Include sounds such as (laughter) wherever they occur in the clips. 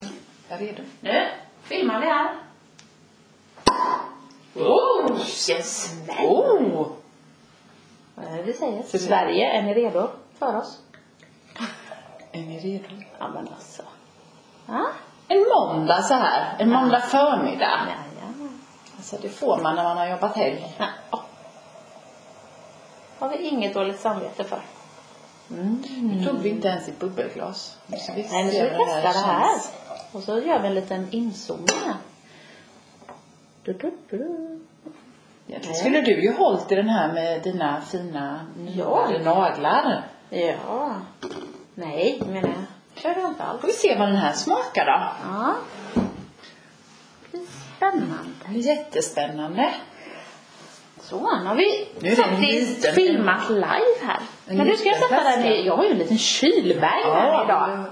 Jag är redo. Nu filmar vi här. Oh, yes! Oh! Vad är det Eh, vi säger? Så det- Sverige, är ni redo för oss? Är ni redo? Ja, men alltså. Ja. En måndag så här. En måndag förmiddag. Ja, ja. Alltså det får man när man har jobbat helg. ja. åh. har vi inget dåligt samvete för. Nu tog vi inte ens ett bubbelglas. Så vi Nej, nu ser ska vi hur testa det här. känns. Och så gör vi en liten inzoomning här. Du, du, du. Ja, det skulle du ju hållit i den här med dina fina Ja. nyade naglar. Ja. Nej, menar jag. Kör jag inte alls. Får vi se vad den här smakar då. Ja. Det är spännande. Det är Jättespännande. Så, nu har vi Nu är det en faktiskt liten- filmat live här. En Men du ska jag liten sätta den flaska. i, jag har ju en liten kylbag här idag. men-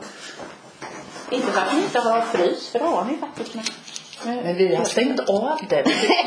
Inte för att ni inte har frys, för det har ni faktiskt. Men... Men vi har stängt av den.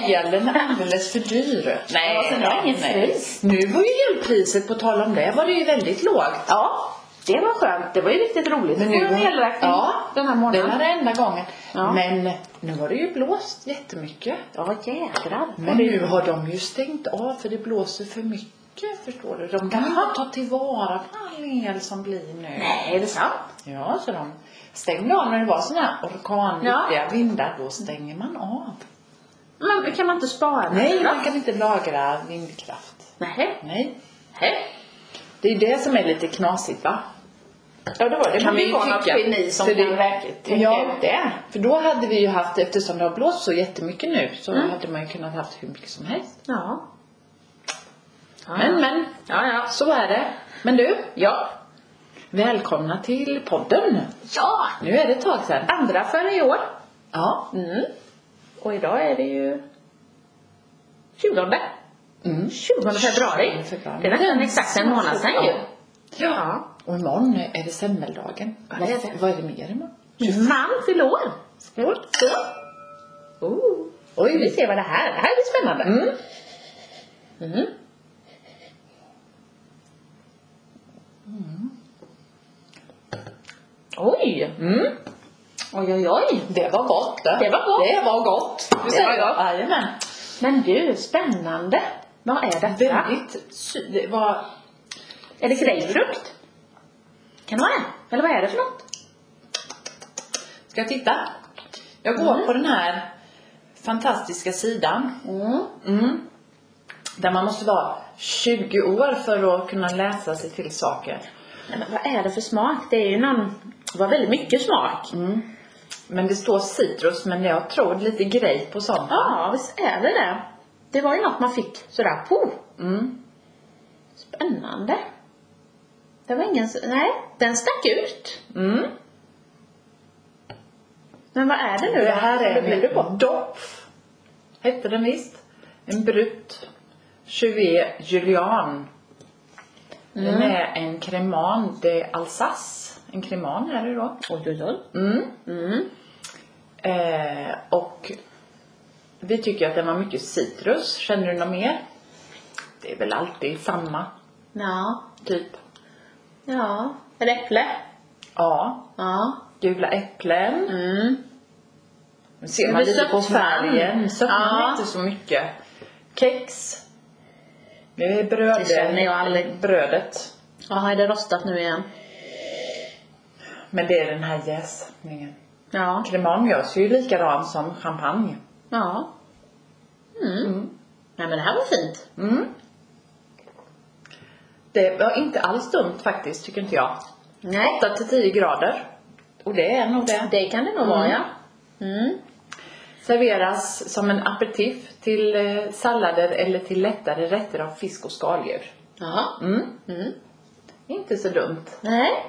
Elen är alldeles för dyr. Ja, så det var ingen nej. pris. Nu var ju elpriset, på tal om det, var det ju väldigt lågt. Ja, det var skönt. Det var ju riktigt roligt. Men Nu nu- får en elräkning Ja. den här Det månaden. var det enda gången. Ja. Men nu har det ju blåst jättemycket. Ja, jädrar. Men nu har de ju stängt av för det blåser för mycket, förstår du. De kan Jaha. inte ta tillvara på all el som blir nu. Nej, är det sant? Ja, så de stängde av när det var sådana här orkanriktiga Ja. vindar. Då stänger man av. Men kan man inte spara? Nej, då? man kan inte lagra vindkraft. Nej. Nej. Nej. Det är det som är lite knasigt va? Ja, det var det. kan Men vi vi ju var något tycka. geni som För det- kan verkligen tänka Ja. ut det. För då hade vi ju haft, eftersom det har blåst så jättemycket nu, så Mm. hade man ju kunnat haft hur mycket som helst. Ja. ja. Men, men, Ja, ja. så är det. Men du, Ja. välkomna till podden. Ja! Nu är det ett tag sedan. Andra för i år. Ja. Mm. Och idag är det ju 20. Mm. 20 februari. 20 februari. Det är nästan exakt en månad sedan ju. Ja. Ja. Och imorgon är det semmeldagen. Ja, det är det. Vad är det mer imorgon? Min man fyller år. Skål. Så. Oh. Oj. Vi ser vad det här Det här blir spännande. Mm. Mm. Oj! Mm. Oj, oj, oj. Det var gott det. Det var gott. Det var gott. Det säger var jag. gott. Jajamän. Men du, spännande. Vad är detta? Väldigt sy- det var Är det grapefrukt? Kan det vara det? Eller vad är det för något? Ska jag titta? Jag går Mm. på den här fantastiska sidan Mm. mm. där man måste vara 20 år för att kunna läsa sig till saker. Nej, men vad är det för smak? Det är ju någon... Det var väldigt mycket smak. Men det står citrus, men jag tror lite grej på sånt. Ja, visst är det det. Det var ju något man fick sådär, på. Mm. Spännande. Det var ingen... s- Nej, den stack ut. Mm. Men vad är det nu? Det här Vad är blir det på? en Dopf. Hette den visst. En brut. Juvé Julian. Den Mm. är en creman de Alsace. En creman är det då. Oj, oj, oj. Mm. Mm. Eh, och vi tycker att den var mycket citrus. Känner du något mer? Det är väl alltid samma, Ja. typ. Ja. Ett äpple. Ja, Ja. gula äpplen. Mm. Nu ser Men man det är lite på sötman. färgen. Sötman Ja. är inte så mycket. Kex. Nu är bröd, Det känner jag aldrig. brödet. Jaha, är det rostat nu igen? Men det är den här jäsningen. Ja. Cremant görs ju likadan som champagne. Ja. Mm. Mm. Nej, men det här var fint. Mm. Det var inte alls dumt faktiskt, tycker inte jag. Nej. 8 till 10 grader. Och det är nog det. Det kan det nog Mm. vara, ja. Mm. Serveras som en aperitif till eh, sallader eller till lättare rätter av fisk och skaldjur. Ja. Mm. Mm. Inte så dumt. Nej.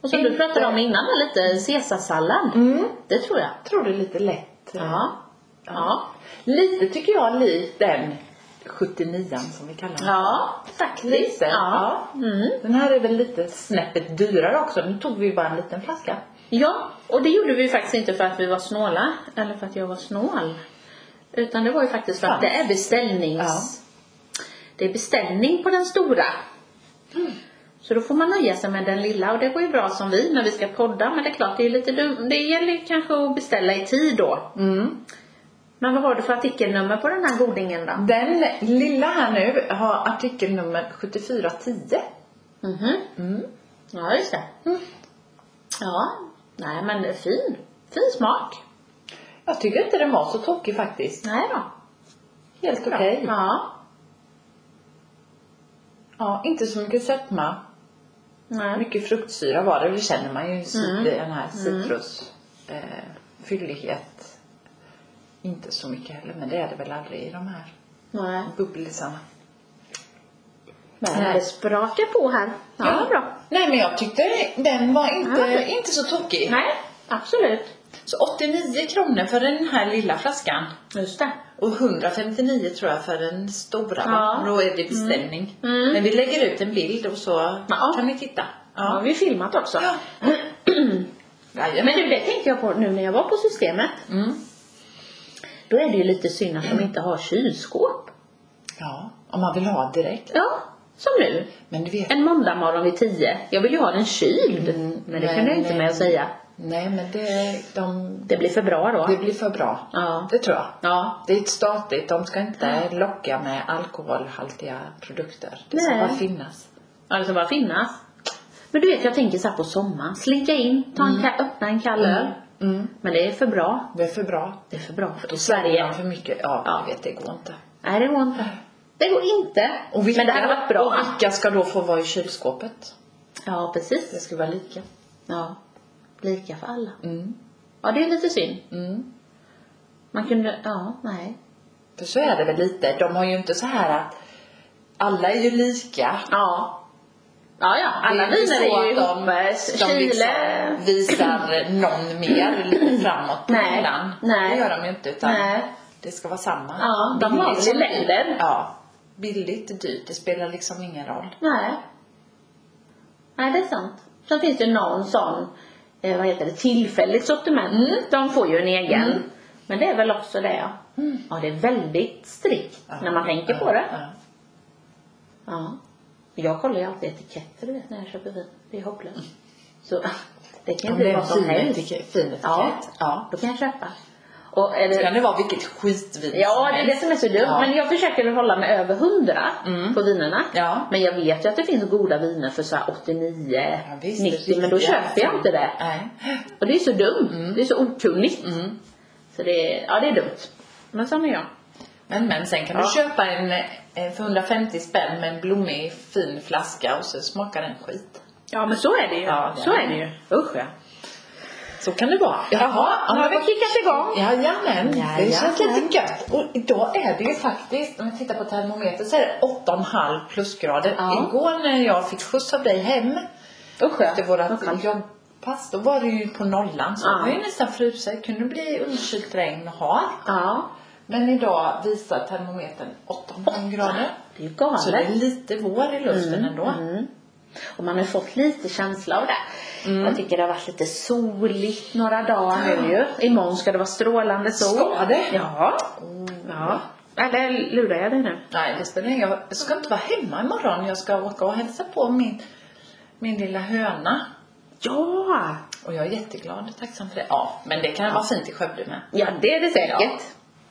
Och som du Inte- pratade om innan, där, lite caesarsallad. Mm. Det tror jag. Tror det är lite lätt. Ja. Ja. Lite tycker jag lik den 79 som vi kallar den. Ja, faktiskt. Lite. Ja. Ja. Mm. Den här är väl lite snäppet dyrare också. Nu tog vi ju bara en liten flaska. Ja, och det gjorde vi ju faktiskt inte för att vi var snåla, eller för att jag var snål. Utan det var ju faktiskt för att det är beställnings... Ja. Mm. Det är beställning på den stora. Så då får man nöja sig med den lilla och det går ju bra som vi när vi ska podda men det är klart det är lite dumt. Det gäller ju kanske att beställa i tid då. Mm. Men vad har du för artikelnummer på den här godingen då? Den lilla här nu har artikelnummer 7410. Mhm. Mm. Ja just det. Mm. Ja. Nej men fin. Fin smak. Jag tycker inte den var så tokig faktiskt. Nej då. Helt Bra. okej. Ja. Ja, inte så mycket sötma. Nej. Mycket fruktsyra var det. Det känner man ju i cit- Mm. den här citrus. Eh, fyllighet. Inte så mycket heller, men det är det väl aldrig i de här Nej. bubblisarna. Men det sprakar på här. Ja, Ja. ja. bra. Nej, men jag tyckte den var inte, Ja, okej. inte så tokig. Nej, absolut. Så 89 kronor för den här lilla flaskan. Just det. Och 159 tror jag för den stora. Ja. Ja. Då är det beställning. Mm. Mm. Men vi lägger ut en bild och så Ja. kan ni titta. Ja. Har Ja. vi filmat också. Ja. (clears throat) Jajamän. Men du, det tänkte jag på nu när jag var på systemet. Mm. Då är det ju lite synd att de inte har kylskåp. ja, om man vill ha direkt. Ja, som nu. Men du vet, En måndag morgon vid tio. Jag vill ju ha den kyld. Mm, men det nej, kunde jag inte nej. med att säga. nej men det, de, Det blir för bra då. det blir för bra. Ja. Det tror jag. Ja. Det är ett statligt, de ska inte locka med alkoholhaltiga produkter. Det ska Nej. bara finnas. Ja, det ska alltså bara finnas. Men du vet, jag tänker så här på sommaren. Slinka in, ta en ka- öppna en kall öl. Mm. Men det är för bra. Det är för bra. Det är för bra för Då säljer de Sverige. för mycket. Ja, Ja. jag vet, det går inte. Nej, det går inte. Det går inte. Och vilka, men det hade varit bra. Och vilka ska då få vara i kylskåpet? Ja, Det precis. ska vara lika. Ja. Lika för alla. Mm. Ja, det är lite synd. Mm. Man kunde, ja, nej. För så är det väl lite. De har ju inte så här att alla är ju lika. Ja. Ja, ja. Alla Det är ju viner så är ju att de- ihop. eh, De Chile. liksom visar någon (clears throat) mer lite framåt på Nej. hyllan. Nej. Det gör de ju inte utan Nej. det ska vara samma. Ja, de Billigt har väl som dyrt. länder. Ja. Billigt, dyrt, det spelar liksom ingen roll. Nej. Nej, det är sant. Sen finns det någon sån, eh, vad heter det, tillfälligt sortiment. De får ju en egen. Men det är väl också det ja. Mm. Ja, det är väldigt strikt när man tänker på det. Ja. Ja. Jag kollar ju alltid etiketter du vet när jag köper vin. Det är Mm. hopplöst. Så (laughs) det kan Om det ju bli är en vad som fin helst. etikett. Fin etikett. Ja. ja. Då kan jag köpa. Och är Då det, kan det vara vilket skitvin Ja, som det är det helst. som är så dumt. Ja. Men jag försöker väl hålla mig över 100 Mm. på vinerna. Ja. Men jag vet ju att det finns goda viner för så här 89, Ja, visst, det är 90. Men då riktiga. köper jag inte det. Nej. Och det är så dumt. Det är så okunnigt. Mm. Så det är, ja det är dumt. Men sån är jag. Men, men sen kan Ja. du köpa en eh, för 150 spänn med en blommig fin flaska och så smakar den skit. Ja men så är det ju. Ja, det så är är det ju. Usch ja. Så kan det vara. Jaha, Nu har vi kickat igång. Jajamän, det Jajamän. känns lite gött. Och idag är det ju faktiskt, om jag tittar på termometern så är det 8,5 plusgrader. Ja. Igår när jag fick skjuts av dig hem Usch ja. efter Usch. vårat jobbpass, då var det ju på nollan så Ja. det var ju nästan fruset. Det kunde bli underkylt regn och hagel. Ja. Men idag visar termometern 8,5 grader. Det är ju Så det galet. är lite vår i luften ändå. Mm. Och man har ju fått lite känsla av det. Jag tycker det har varit lite soligt några dagar nu ju. Imorgon ska det vara strålande sol. Ska det? Ja. ja. Eller lurar jag dig nu? Nej, det spelar ingen roll. Jag ska inte vara hemma imorgon. Jag ska åka och hälsa på min, min lilla höna. Ja! Och jag är jätteglad och tacksam för det. Ja, men det kan vara fint i Skövde med. Ja, det är det säkert. Ja.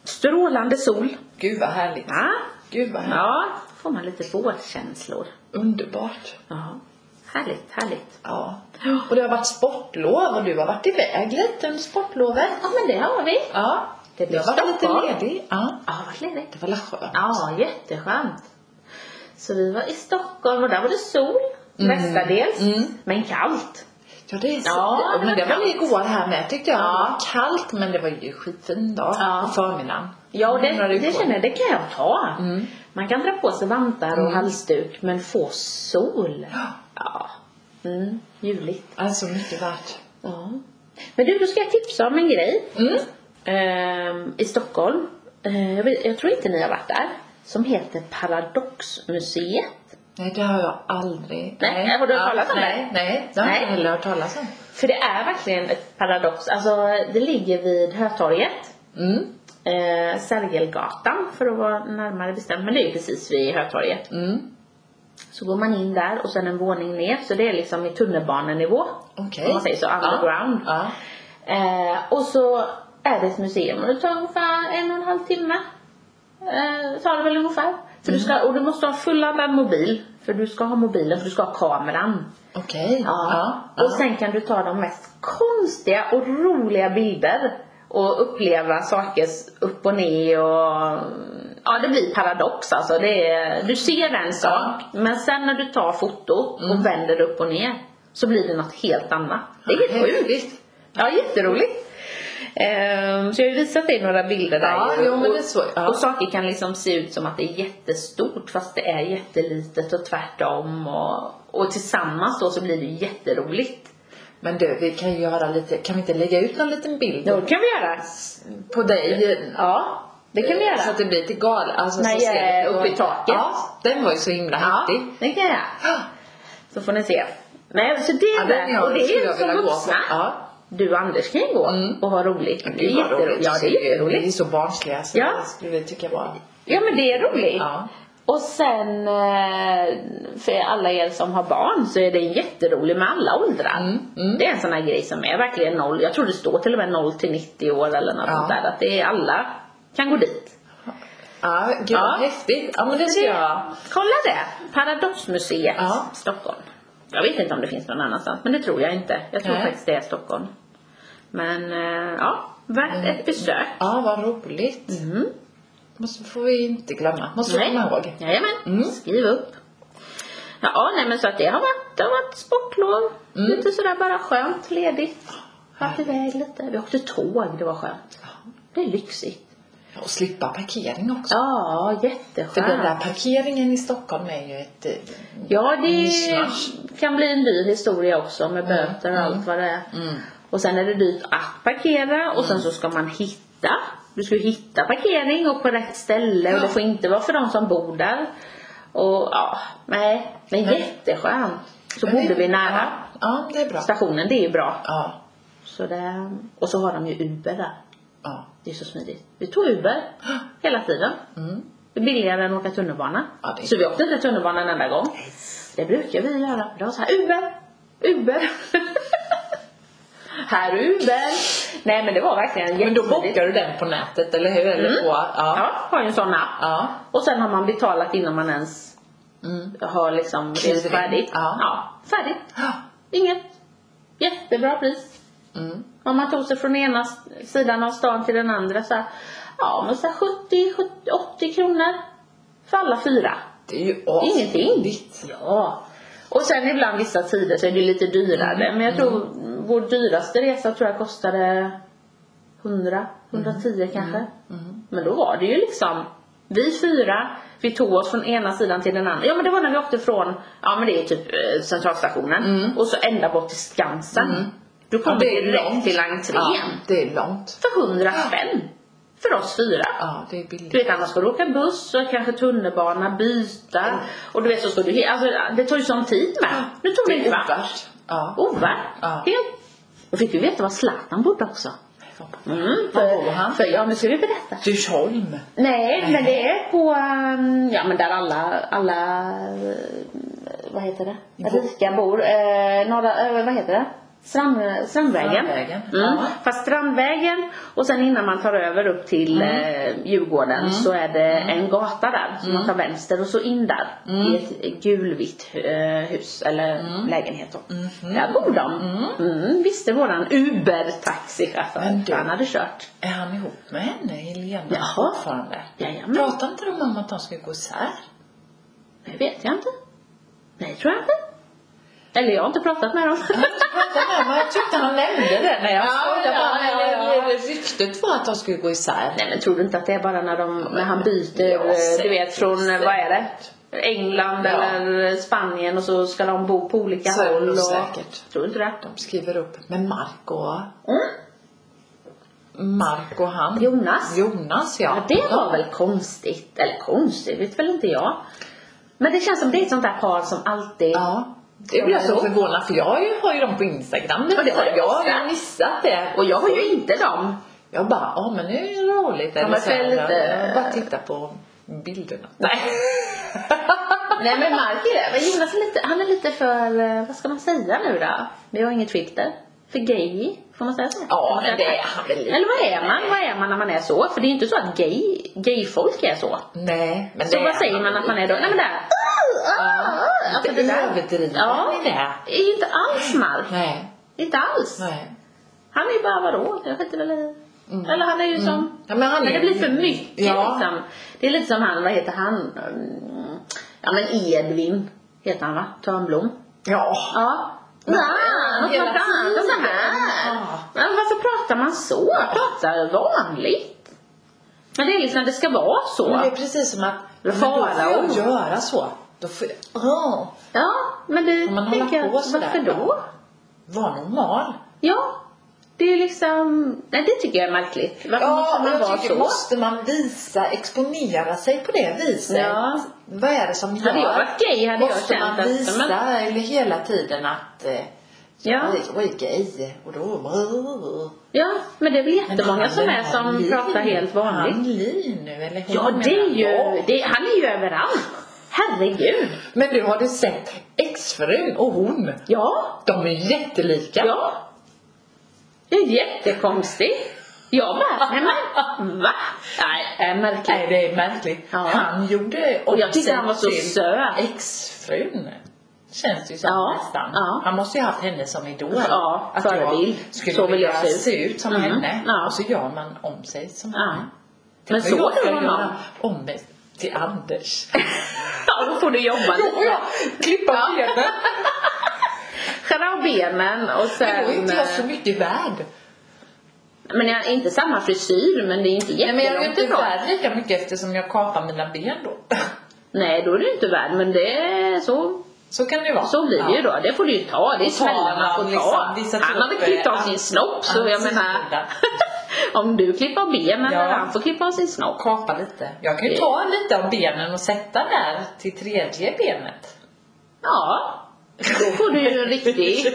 Strålande sol. Gud vad härligt. Ja. Gud vad härligt. Ja, får man lite vårkänslor. Underbart. Ja. Härligt, härligt. Ja. Och det har varit sportlov och du har varit iväg lite under sportlovet. Ja, men det har vi. Ja. Det blir jag har varit lite Stockholm. ledig. Ja. Ja, vad ledigt. Det var la skönt. Ja, jätteskönt. Så vi var i Stockholm och där var det sol mestadels, Mm. men kallt. Ja, det är så. Ja, det var men det var kallt. väl igår här med tyckte jag. Ja. Det var kallt men det var ju skitfin dag Ja. på förmiddagen. Ja, och Några det, det ryckor. känner jag, det kan jag ta. Mm. Man kan dra på sig vantar och Mm. halsduk, men få sol. Ja. Mm, ljuvligt. Alltså mycket värt. Ja. Men du, då ska jag tipsa om en grej. Mm. Ehm, I Stockholm, Ehm, jag, vet, jag tror inte ni har varit där, som heter Paradoxmuseet. Nej, det har jag aldrig. Nej, har du hört talas om nej, det? Nej, det har Nej. jag heller hört talas om. För det är verkligen ett paradox. Alltså, det ligger vid Hötorget. Mm, eh, Sergelgatan för att vara närmare bestämd. Men det är ju precis vid Hötorget. mm, Så går man in där och sen en våning ner. Så det är liksom i tunnelbanenivå. Okej. Om man säger så, underground. Ja. Eh, och så är det ett museum och det tar ungefär en och en halv timme. Eh, tar det väl ungefär. För Mm. du ska, och du måste ha fulladdad mobil. För du ska ha mobilen, för du ska ha kameran. Okej. Ja. Och sen kan du ta de mest konstiga och roliga bilder. Och uppleva saker upp och ner och... Ja, det blir paradox alltså. Det är, du ser en sak, men sen när du tar fotot och vänder upp och ner så blir det något helt annat. Det är helt Häftigt. sjukt. Ja, jätteroligt. Ehm, så jag har ju visat dig några bilder där Ja, ju. jo, men Och- det är så. Ja. och saker kan liksom se ut som att det är jättestort fast det är jättelitet och tvärtom och, och tillsammans då så blir det jätteroligt. Men du, vi kan ju göra lite, kan vi inte lägga ut någon liten bild Det kan vi göra. på dig? Ja, det kan vi göra. Eh, Så att det blir till gal. Alltså, När så ser jag är vi på- uppe i taket. Ja, den var ju så himla ja, häftig. det kan jag göra. Så får ni se. Men så det är Ja, den det. jag, Och det skulle är ju jag vilja som gå på. vuxna. Ja. Mm. Du och Anders kan ju gå och ha roligt. Det är Gud, vad jätteroligt. Ja, det är Vi är jätteroligt. så barnsliga så Ja. det skulle vi tycka var... Ja, men det är roligt. Ja. Och sen eh, för alla er som har barn så är det jätterolig med alla åldrar. Mm, Det är en sån här grej som är verkligen noll, jag tror det står till och med 0 till 90 år eller något Ja. sånt där. Att det är alla kan gå dit. Ja, gud Ja. vad häftigt. Ja, men det ser jag. Kolla det! Paradoxmuseet Ja. Stockholm. Jag vet inte om det finns någon annanstans men det tror jag inte. Jag tror Nej. faktiskt det är Stockholm. Men eh, ja, värt Mm. ett besök. Ja, vad roligt. Mm. Måste får vi inte glömma. Måste vi komma ihåg. Jajamän, Mm. skriv upp. Ja, nej men så att det har varit, det har varit sportlov. Lite sådär bara skönt, ledigt. Haft iväg lite. Vi åkte tåg, det var skönt. Det är lyxigt. Och slippa parkering också. Ja, jätteskönt. För den där parkeringen i Stockholm är ju ett... eh, Ja, det Mischmasch. kan bli en dyr historia också med böter och allt vad det är. Och sen är det dyrt att parkera och Mm. sen så ska man hitta. Du ska ju hitta parkering och på rätt ställe och det får inte vara för de som bor där. Och ja, nej, men Nej. jätteskönt. Så Men det- bodde vi nära Ja, ja det är bra. stationen, det är ju bra. Ja, Så det, och så har de ju Uber där. ja. Det är så smidigt. Vi tog Uber hela tiden. Mm. Det är billigare än att åka tunnelbana. Ja, det är- Så vi åkte inte tunnelbana en enda gång. Det brukar vi göra. Det var så här Uber, Uber. (laughs) här Uber. Nej men det var verkligen Men då jättesmidigt. bokar du den på nätet, eller hur? Eller Mm. på... Ja. Ja, har ju en sån app. Ja. Och sen har man betalat innan man ens Mm. har liksom Kliver rest in. färdigt. Ja. färdigt. Inget. Jättebra pris. Mm. Om man tog sig från ena s- sidan av stan till den andra så här, ja men så här 70, 70, 80 kronor för alla fyra. Det är ju Ingenting. asbilligt. Ja. Och sen ibland vissa tider så är det ju lite dyrare. Men jag tror Mm. vår dyraste resa tror jag kostade 100, 110 Mm. kanske. Men då var det ju liksom vi fyra, vi tog oss från ena sidan till den andra. Ja men det var när vi åkte från, ja men det är typ eh, centralstationen och så ända bort till Skansen. Då kom Mm. Ja, vi det är direkt långt. till entrén. Ja, det är långt. För 100 spänn. För oss fyra. Ja, det är Du billigt. vet annars får du åka buss och kanske tunnelbana, byta och du vet så står du he- alltså, det tar ju sån tid med. Nu tog det en kvart. ovärt. Ja. Ovärt. Ja. Helt. Och fick vi veta var Zlatan bodde också. Mm, Var bor för, han? för, ja nu ska vi berätta. Djursholm. Nej men det är på, ehm, ja men där alla, alla, eh, vad heter det? Rika bor. Eh, norra, eh, vad heter det? Strand, strandvägen. Strandvägen, Mm. ja. Fast Strandvägen och sen innan man tar över upp till Mm. eh, Djurgården så är det en gata där. Så Mm. man tar vänster och så in där. I ett gulvitt eh, hus eller Mm. lägenhet då. Mhm. Där bor de. Mm. Visste våran Men Uber-taxichaufför. du. Han hade kört. Är han ihop med henne, Helena, Jaha. fortfarande? Jajamän. Pratar inte de om att de ska gå isär? Det vet jag inte. Nej, tror jag inte. Eller jag har inte pratat med dem. Pratade med Jag tyckte han nämnde det när jag Ja, frågade. ja, bara, ja, ja. eller Ryktet var att de skulle gå isär. Nej, men tror du inte att det är bara när, de, när han byter, Ja, eh, du säkert, vet, från, eh, vad är det? England Ja. eller eh, Spanien och så ska de bo på olika Så är det håll. nog Och... säkert. Tror du inte det? De skriver upp med Mark och... Mm. Mark och han. Jonas. Jonas, ja. Ja, det var väl konstigt. Eller konstigt vet väl inte jag. Men det känns som det är ett sånt där par som alltid... Ja. Det blir jag så förvånad för jag har ju- har ju dem på Instagram. Ja, det har du jag har missat. ju missat det. Och jag har ju inte dem. Jag bara, ja men nu är det roligt. men Eller så här, för lite- Jag bara tittar på bilderna. Nej. (laughs) Nej men Mark är det. Men Jonas är lite, han är lite för, eh, vad ska man säga nu då? Vi har inget filter. För gay, får man säga så? Får Ja, man men säga det är han väl lite. Eller vad är man? Vad är man när man är så? För det är ju inte så att gay, gayfolk är så. Nej, men Så det vad är säger han man att man är då? Nej men det här. Ja, Alltså, lite det där- överdriven Ja. i det. Det är ju inte alls Mark. Nej, Inte alls. nej. Han är ju bara vadå? Jag skiter väl i. Eller han är ju som... Ja, men han Men det blir för mycket Mm. Ja. liksom. Det är lite som han, vad heter han? Mm, Ja men Edvin heter han va? Törnblom. Ja. Ja. Ja, hela och så här. och så här. tiden. Ja. Men varför pratar man så? Pratar vanligt. Men det är liksom, det ska vara så. Men det är precis som att men då får Farao. jag göra så. Då får jag, oh, Ja, men det Om man håller tänker jag, på sådär, varför då? var normal. Ja. Det är liksom, nej det tycker jag är märkligt. Varför Ja, måste men man vara jag tycker, så? måste man visa, exponera sig på det viset? Alltså, Ja. Vad är det som gör? Hade jag varit gay hade jag måste känt man att- visa men- eller hela tiden att eh, Ja. jag, är- jag är gay och då... Ja, men det är väl Men jättemånga han som den är här som Lin, pratar helt Han vanligt. Lin nu eller hon Ja, det är menar jag. ju, det, han är ju överallt. Herregud. Men du, har du sett exfrun och hon? Ja, De är jättelika. ja. Det är jättekonstigt. Jag bara, nej men va? Nej, det är Nej, märkligt. det är märkligt. Ja. Han gjorde Och jag tyckte han var så till söt. Exfrun. Känns det ju som Ja, nästan. ja. Han måste ju haft henne som idol. Ja, att förebild. jag skulle Så vill jag vilja se ut. se ut som Mm, henne. ja. Och så gör man om sig som Ja. henne. Men Och såg jag du ska honom? göra om mig till Anders. (laughs) Ja, då får du jobba Då får lite. jag klippa benen. Skära av benen Men och då är sen... eh, inte jag så mycket värd. Men jag har inte samma frisyr, men det är inte Nej, men jag är jättelångt inte ifrån. värd lika mycket eftersom jag kapar mina ben då. (laughs) Nej, då är du inte värd, men det är så Så kan det ju vara. Så blir det ju Ja. då. Det får du ju ta. Det Och är tar smällar man man får liksom ta. vissa han hade trupper, klippt av an- sin snopp så jag menar. (laughs) ansiktsbilden. om du klipper av benen Ja. eller han får klippa av sin snopp. Kapa lite. Jag kan ju Det- ta lite av benen och sätta där till tredje benet. Ja. Då får du ju (laughs) en riktig...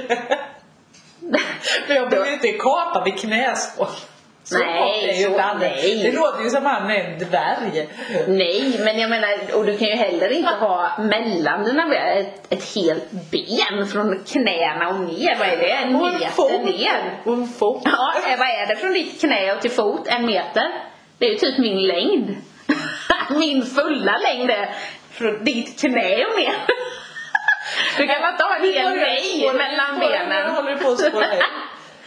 Men jag behöver ju inte kapa vid knäskål. Så Nej, kort är ju så- inte han. nej. Det låter ju som han är en dvärg. Nej, men jag menar, och du kan ju heller inte ha mellan dina ben ett, ett helt ben från knäna och ner. Vad är det? En Och en meter fot. ner. Och en fot. Ja, eh, vad är det från ditt knä och till fot? En meter? Det är ju typ min längd. (laughs) Min fulla längd är från ditt knä och ner. (laughs) Du kan väl inte ha en hel mig mellan Nu benen? håller du på att spåra ur.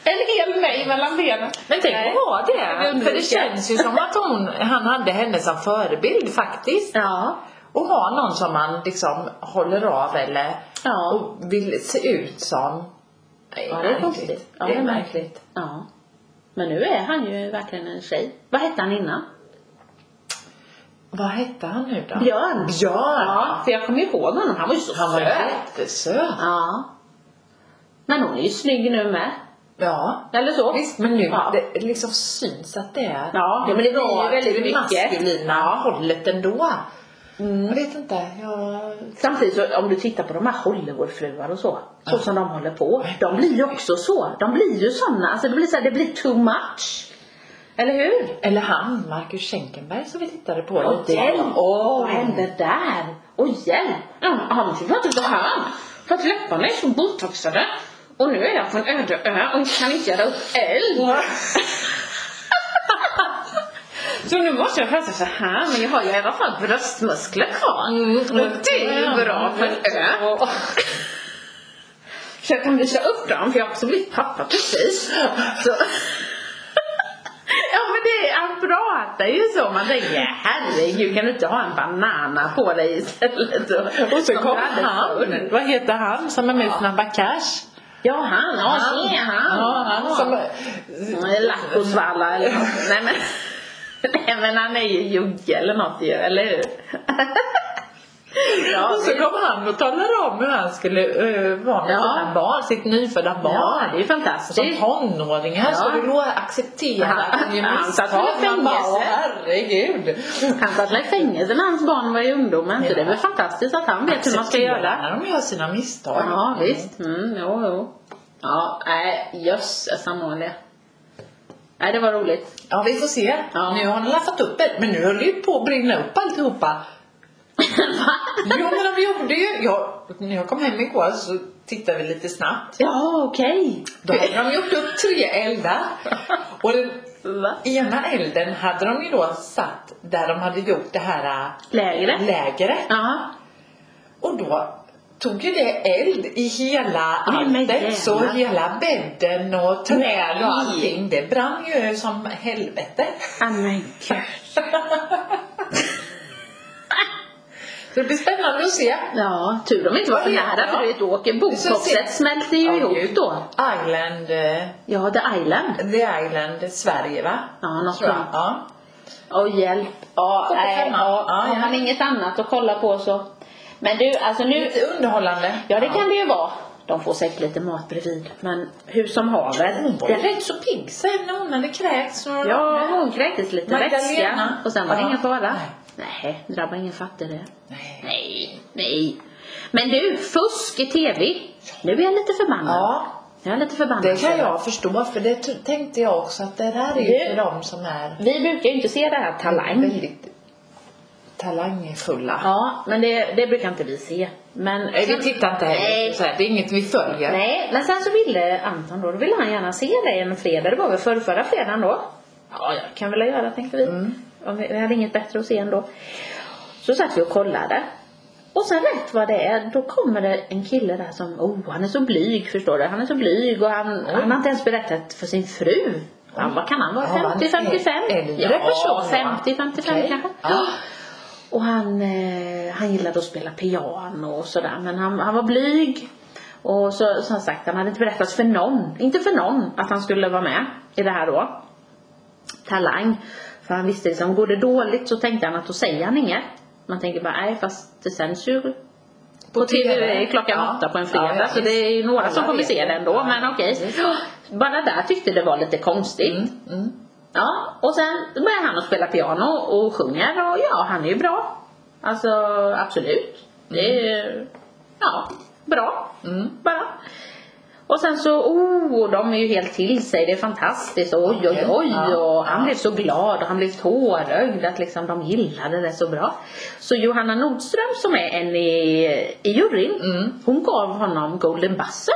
En hel mig mellan benen. Men (laughs) tänk Nej. att ha Jag vill det. För det undvika. känns ju som att hon, han hade henne som förebild faktiskt. Ja. Och ha någon som man liksom håller av eller Ja. och vill se ut som. Det Ja, är det är märkligt. konstigt. Ja, Det det är är märkligt. ja. Men nu är han ju verkligen en tjej. Vad hette han innan? Vad hette han nu då? Björn. Björn! Ja, för jag kommer ihåg honom. Han var ju så Han var söt. jättesöt. Ja. Men hon är ju snygg nu med. Ja. Eller så? Visst, men nu Ja. det liksom syns att det är Ja, men det blir ju väldigt det mycket. maskulina hållet ändå. Jag vet inte, jag... Samtidigt så om du tittar på de här Hollywoodfruar och så. Så som de håller på. De blir ju också så. De blir ju såna. Alltså det blir så här, det blir too much. Eller hur? Eller han, Marcus Schenkenberg som vi tittade på Och lite. hjälp! Åh. Vad hände där? Och hjälp! Ja, Han var inte så här. För att läpparna är så botoxade. Och nu är jag på en öde ö och kan inte göra upp eld. (laughs) Så nu måste jag prata så här. Men jag har ju i alla fall bröstmuskler kvar. Mm. Och det är ju bra på en ö. Ja. (laughs) Så jag kan visa upp dem för jag har också blivit pappa precis. Så. Ja men det, är- han pratar ju så. Man tänker herregud kan du inte ha en banana på dig istället? Och, Och så som kom du hade han, förr. vad heter han som är med i Snabba Cash? Ja han, ja se han. Ja, han som... Lackosvalla eller något. Nej men. (laughs) Nej men han är ju jugge eller något ju, eller hur? Ja, och så kom han och talade om hur han skulle eh, vara med Ja. sina barn, sitt nyfödda ja, barn. det är ju Som fantastiskt. tonåringar Ja. så du lå acceptera Han- att (laughs) han gör han misstag. satt väl i Man bara, fängelse? "Åh, herregud. Han satt väl i fängelse när hans barn var i ungdomen så det är väl fantastiskt att han vet hur man ska göra. Acceptera när de gör sina misstag. Ja, visst. Mm, jo, jo. Ja, nej, jösses anordningar. Nej, det var roligt. Ja, vi får se. Ja. (laughs) Nu har ni laffat upp det. Men nu höll det ju på att brinna upp alltihopa. Va? Jo men de gjorde ju, jag, när jag kom hem igår så tittade vi lite snabbt. Ja, okej. Då hade de gjort upp tre eldar. Och den Va? ena elden hade de ju då satt där de hade gjort det här äh, Lägret? lägret. Ja. Och då tog ju det eld i hela Nej, men jävlar. alltet. Så hela bädden och träd Nej. och allting. Det brann ju som helvete. Ah, men gud. Så det blir spännande att se. Ja, tur de inte var för Ja, nära ja. för du vet åker Så bokhoppset se- smälter ju Ja, ihop gud. då. Island, eh, Ja, The Island. The Island, Sverige va? Ja, något Tror jag. sånt. Ja. Åh hjälp. Ja, Gå på nej, femman. ja, Ja, har ja. man inget annat att kolla på så. Men du, alltså nu. Lite underhållande. Ja, det kan det ju vara. De får säkert lite mat bredvid. Men hur som haver. Hon var ju Det, rätt så pigg sen när hon hade kräkts några ja, gånger. hon kräktes lite Magdalena. vätska. Och sen var det Ja. ingen fara. Nej. Nej, drabbar ingen fattig det. Nej. Nej, nej. Men du, fusk i TV. Nu är jag lite förbannad. Ja, Jag är lite förbannad. det kan jag förstå för det t- tänkte jag också att det där är ju Du- för dem som är Vi brukar ju inte se det här Talang. väldigt talangfulla. Ja, men det, det brukar inte vi se. Men Nej, vi tittar inte heller. Nej. Så här, Det är inget vi följer. Nej, men sen så ville Anton då, då ville han gärna se dig en fredag. Det var väl förra, förra fredagen då? Ja, jag kan väl göra tänkte vi. Mm. Om vi. Vi hade inget bättre att se ändå. Så satt vi och kollade. Och sen rätt vad det är, då kommer det en kille där som, oh han är så blyg förstår du. Han är så blyg och han, Oj. han har inte ens berättat för sin fru. Han, vad kan han vara? Ja, han 50, 55? är äldre Ja, person, va? 50, 55 Okej. kanske. Ja. Och han, eh, han gillade att spela piano och sådär men han, han var blyg. Och så, som sagt, han hade inte berättat för någon, inte för någon, att han skulle vara med i det här då. Talang. För han visste liksom, går det dåligt så tänkte han att då säger han inget. Man tänker bara, nej fast det sänds ju på TV klockan Ja. åtta på en fredag Ja, ja, så det är ju några Alla som kommer vet se det. det ändå Ja, men okej. Bara där tyckte det var lite konstigt. Mm, mm. Ja, och sen börjar han att spela piano och sjunger och ja, han är ju bra. Alltså absolut. Det är ja, bra. Mm. Bara. Och sen så, oh, de är ju helt till sig, det är fantastiskt, oj oj oj Ja. och han blev så glad och han blev tårögd att liksom de gillade det så bra. Så Johanna Nordström som är en i, i juryn, Mm. hon gav honom Golden Buzzer.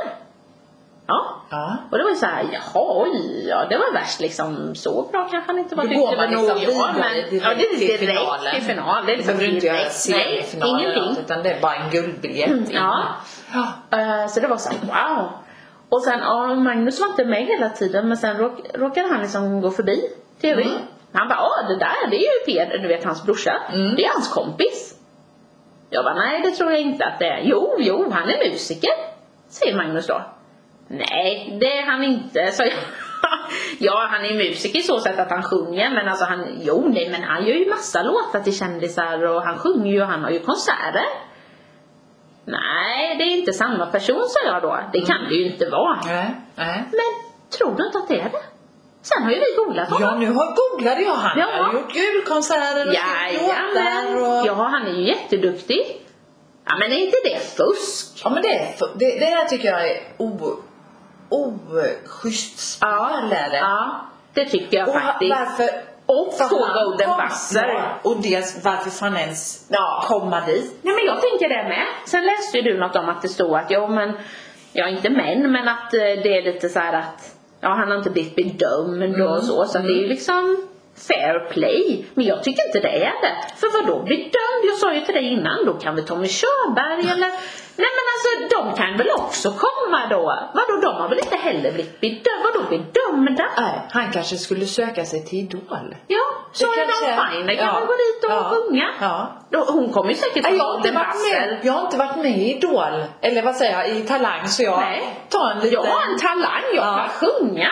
Ja, Ja. och det var ju så här, jaha, oj, ja det var värst liksom. Så bra kanske han inte var. Då tyckte går man väl liksom nog jag, vidare men- direkt Ja, det är till direkt finalen. till final. Det är Det liksom behöver inte göra direkt. Nej, semifinalen ingenting. utan det är bara en guldbiljett. Mm, ja. Ja. Eh, så det var så här, wow. Och sen, ja, Magnus var inte med hela tiden men sen råk, råkade han liksom gå förbi TV. Mm. Han bara, ja det där det är ju Peder, du vet hans brorsa. Mm. Det är hans kompis. Jag bara, nej det tror jag inte att det är. Jo, jo, han är musiker. Säger Magnus då. Nej, det är han inte, (laughs) sa jag. ja, han är musiker i så sätt att han sjunger men alltså han, jo nej men han gör ju massa låtar till kändisar och han sjunger ju och han har ju konserter. Nej, det är inte samma person sa jag då. Det kan det ju inte vara. Nej, nej. Men tror du inte att det är det? Sen har ju vi googlat honom. Ja, nu har googlade jag han. Ja. Han har gjort julkonserter och skrivit Jajamän! låtar och... Ja, han är ju jätteduktig. Ja, men är inte det fusk? Ja men det, är f- det, det här tycker jag är o- oschysst spel är det. Ja, det tycker jag Och ha- faktiskt. varför... Och för få han Golden kom Buzzer. snart. Och dels varför fan ens Ja. komma dit. Nej, men jag tänker det med. Sen läste ju du något om att det stod att, ja men, ja inte men, men att eh, det är lite så här att, ja han har inte blivit bedömd och så, så att det är Mm. ju liksom fair play. Men jag tycker inte det är det. För vad då bedömd? Jag sa ju till dig innan, då kan väl Tommy Körberg eller, nej men alltså de kan väl också komma då? Vadå, de har väl inte heller blivit bedömda? Vadå bedömda? Nej, han kanske skulle söka sig till Idol. Ja, Det Sara Dawn Finer kan väl gå dit och ja, sjunga? Ja. Då, hon kommer ju säkert Nej, få jag, har inte Golden varit Buzzer. med, jag har inte varit med i Idol, eller vad säger jag, i Talang så jag Nej. tar en liten... Jag har en talang, jag Ja. kan sjunga.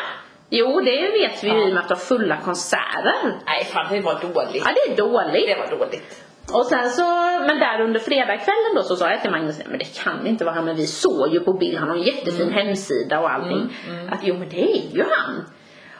Jo, det vet vi ju Ja. i och med att de har fulla konserter. Nej fan det var dåligt. Ja, det är dåligt. Det var dåligt. Och sen så, men där under fredagskvällen då så sa jag till Magnus, men det kan inte vara han, men vi såg ju på bild, han har en jättefin hemsida och allting. Att jo men det är ju han.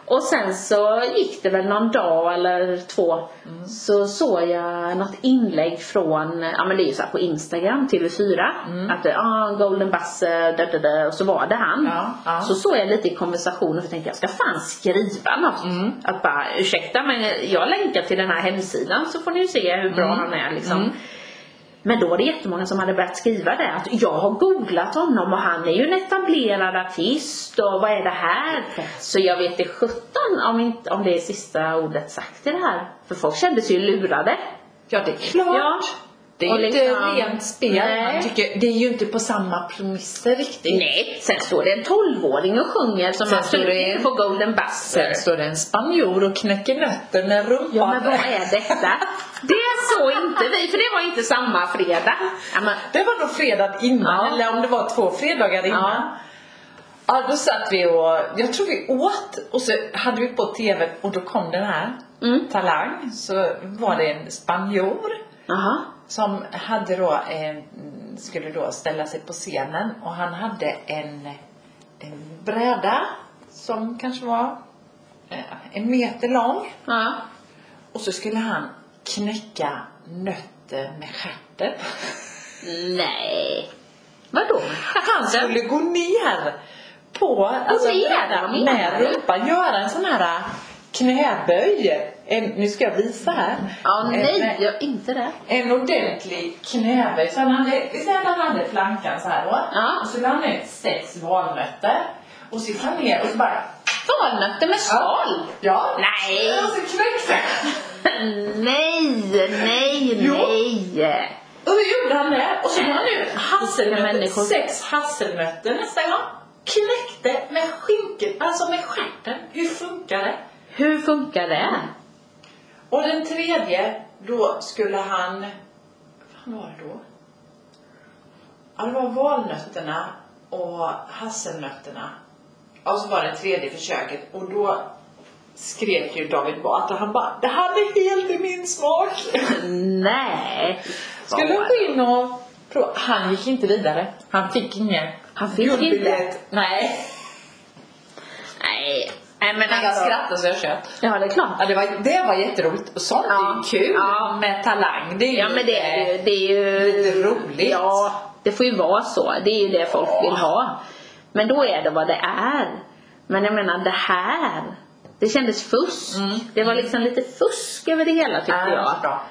Och sen så gick det väl någon dag eller två Mm. så såg jag något inlägg från, ja men det är ju så här på Instagram, TV4. Mm. Att det, ah, Golden Buzzer, da, da, da, och så var det han. Ja, ja. Så såg jag lite i konversationen och tänkte jag ska fan skriva något. Mm. Att bara Mm. ursäkta men jag länkar till den här hemsidan så får ni ju se hur bra han är liksom. Men då var det jättemånga som hade börjat skriva det att jag har googlat honom och han är ju en etablerad artist och vad är det här? Så jag vet det sjutton om, inte, om det är sista ordet sagt i det här. För folk kände sig ju lurade. Ja, det är klart. Ja. Det är Och ju liksom- inte rent spel. Nej. Man tycker, det är ju inte på samma premisser riktigt. Nej, sen står det en 12-åring och sjunger som Sen absolut står det- inte får golden buzzer. Sen står det en spanjor och knäcker nötter med rumpan. Ja, men vad är detta? Det såg inte vi, för det var inte samma fredag. Ja, men, Det var nog fredag innan, Ja. eller om det var två fredagar innan. Ja. då satt vi och, jag tror vi åt och så hade vi på TV och då kom den här, Mm. Talang, så var det en spanjor aha. som hade då, eh, skulle då ställa sig på scenen och han hade en, en bräda som kanske var eh, en meter lång Ja. och så skulle han knäcka nötter med stjärten. (laughs) Nej. Vadå? Han skulle gå ner på, alltså ner? brädan Vad menar med du? rumpan, göra en sån här äh, knäböj. En, nu ska jag visa här. Ja, nej, En, äh, jag, inte det. en ordentlig knäböj. Så han hade, vi säger att han hade plankan så här då. Ja. Och så la han ut sex valnötter. Och så gick han ner och så bara... Valnötter med skal? Ja. Nej. Och så knäckte han. (laughs) Nej, nej, Jo. nej. Och så gjorde han det. Och så la han ut hasselnötter, människor. sex hasselnötter nästa gång. Knäckte med skinket, alltså med stjärten. Hur funkar det? Hur funkar det? Och den tredje, då skulle han... Vad fan var det då? Ja, det var valnötterna och hasselnötterna. Ja, Och så var det tredje försöket och då skrek ju David Batra, han bara Det här är helt i min smak! Nej. Skulle han gå in och prova. Han gick inte vidare. Han fick ingen Han fick inte. guldbiljett. Nej. Nej. Nej, men Men jag alltså. skrattade så jag tjöt. Ja, det är klart. Ja, det, var, det var jätteroligt och sånt Ja. är ju kul Ja. med talang. Det är ju eh, Ja men det är ju, det är ju Lite roligt. Ja, det får ju vara så. Det är ju det folk vill ha. Men då är det vad det är. Men jag menar det här. Det kändes fusk. Mm. Det var liksom lite fusk över det hela tyckte Ja, det var så jag. bra.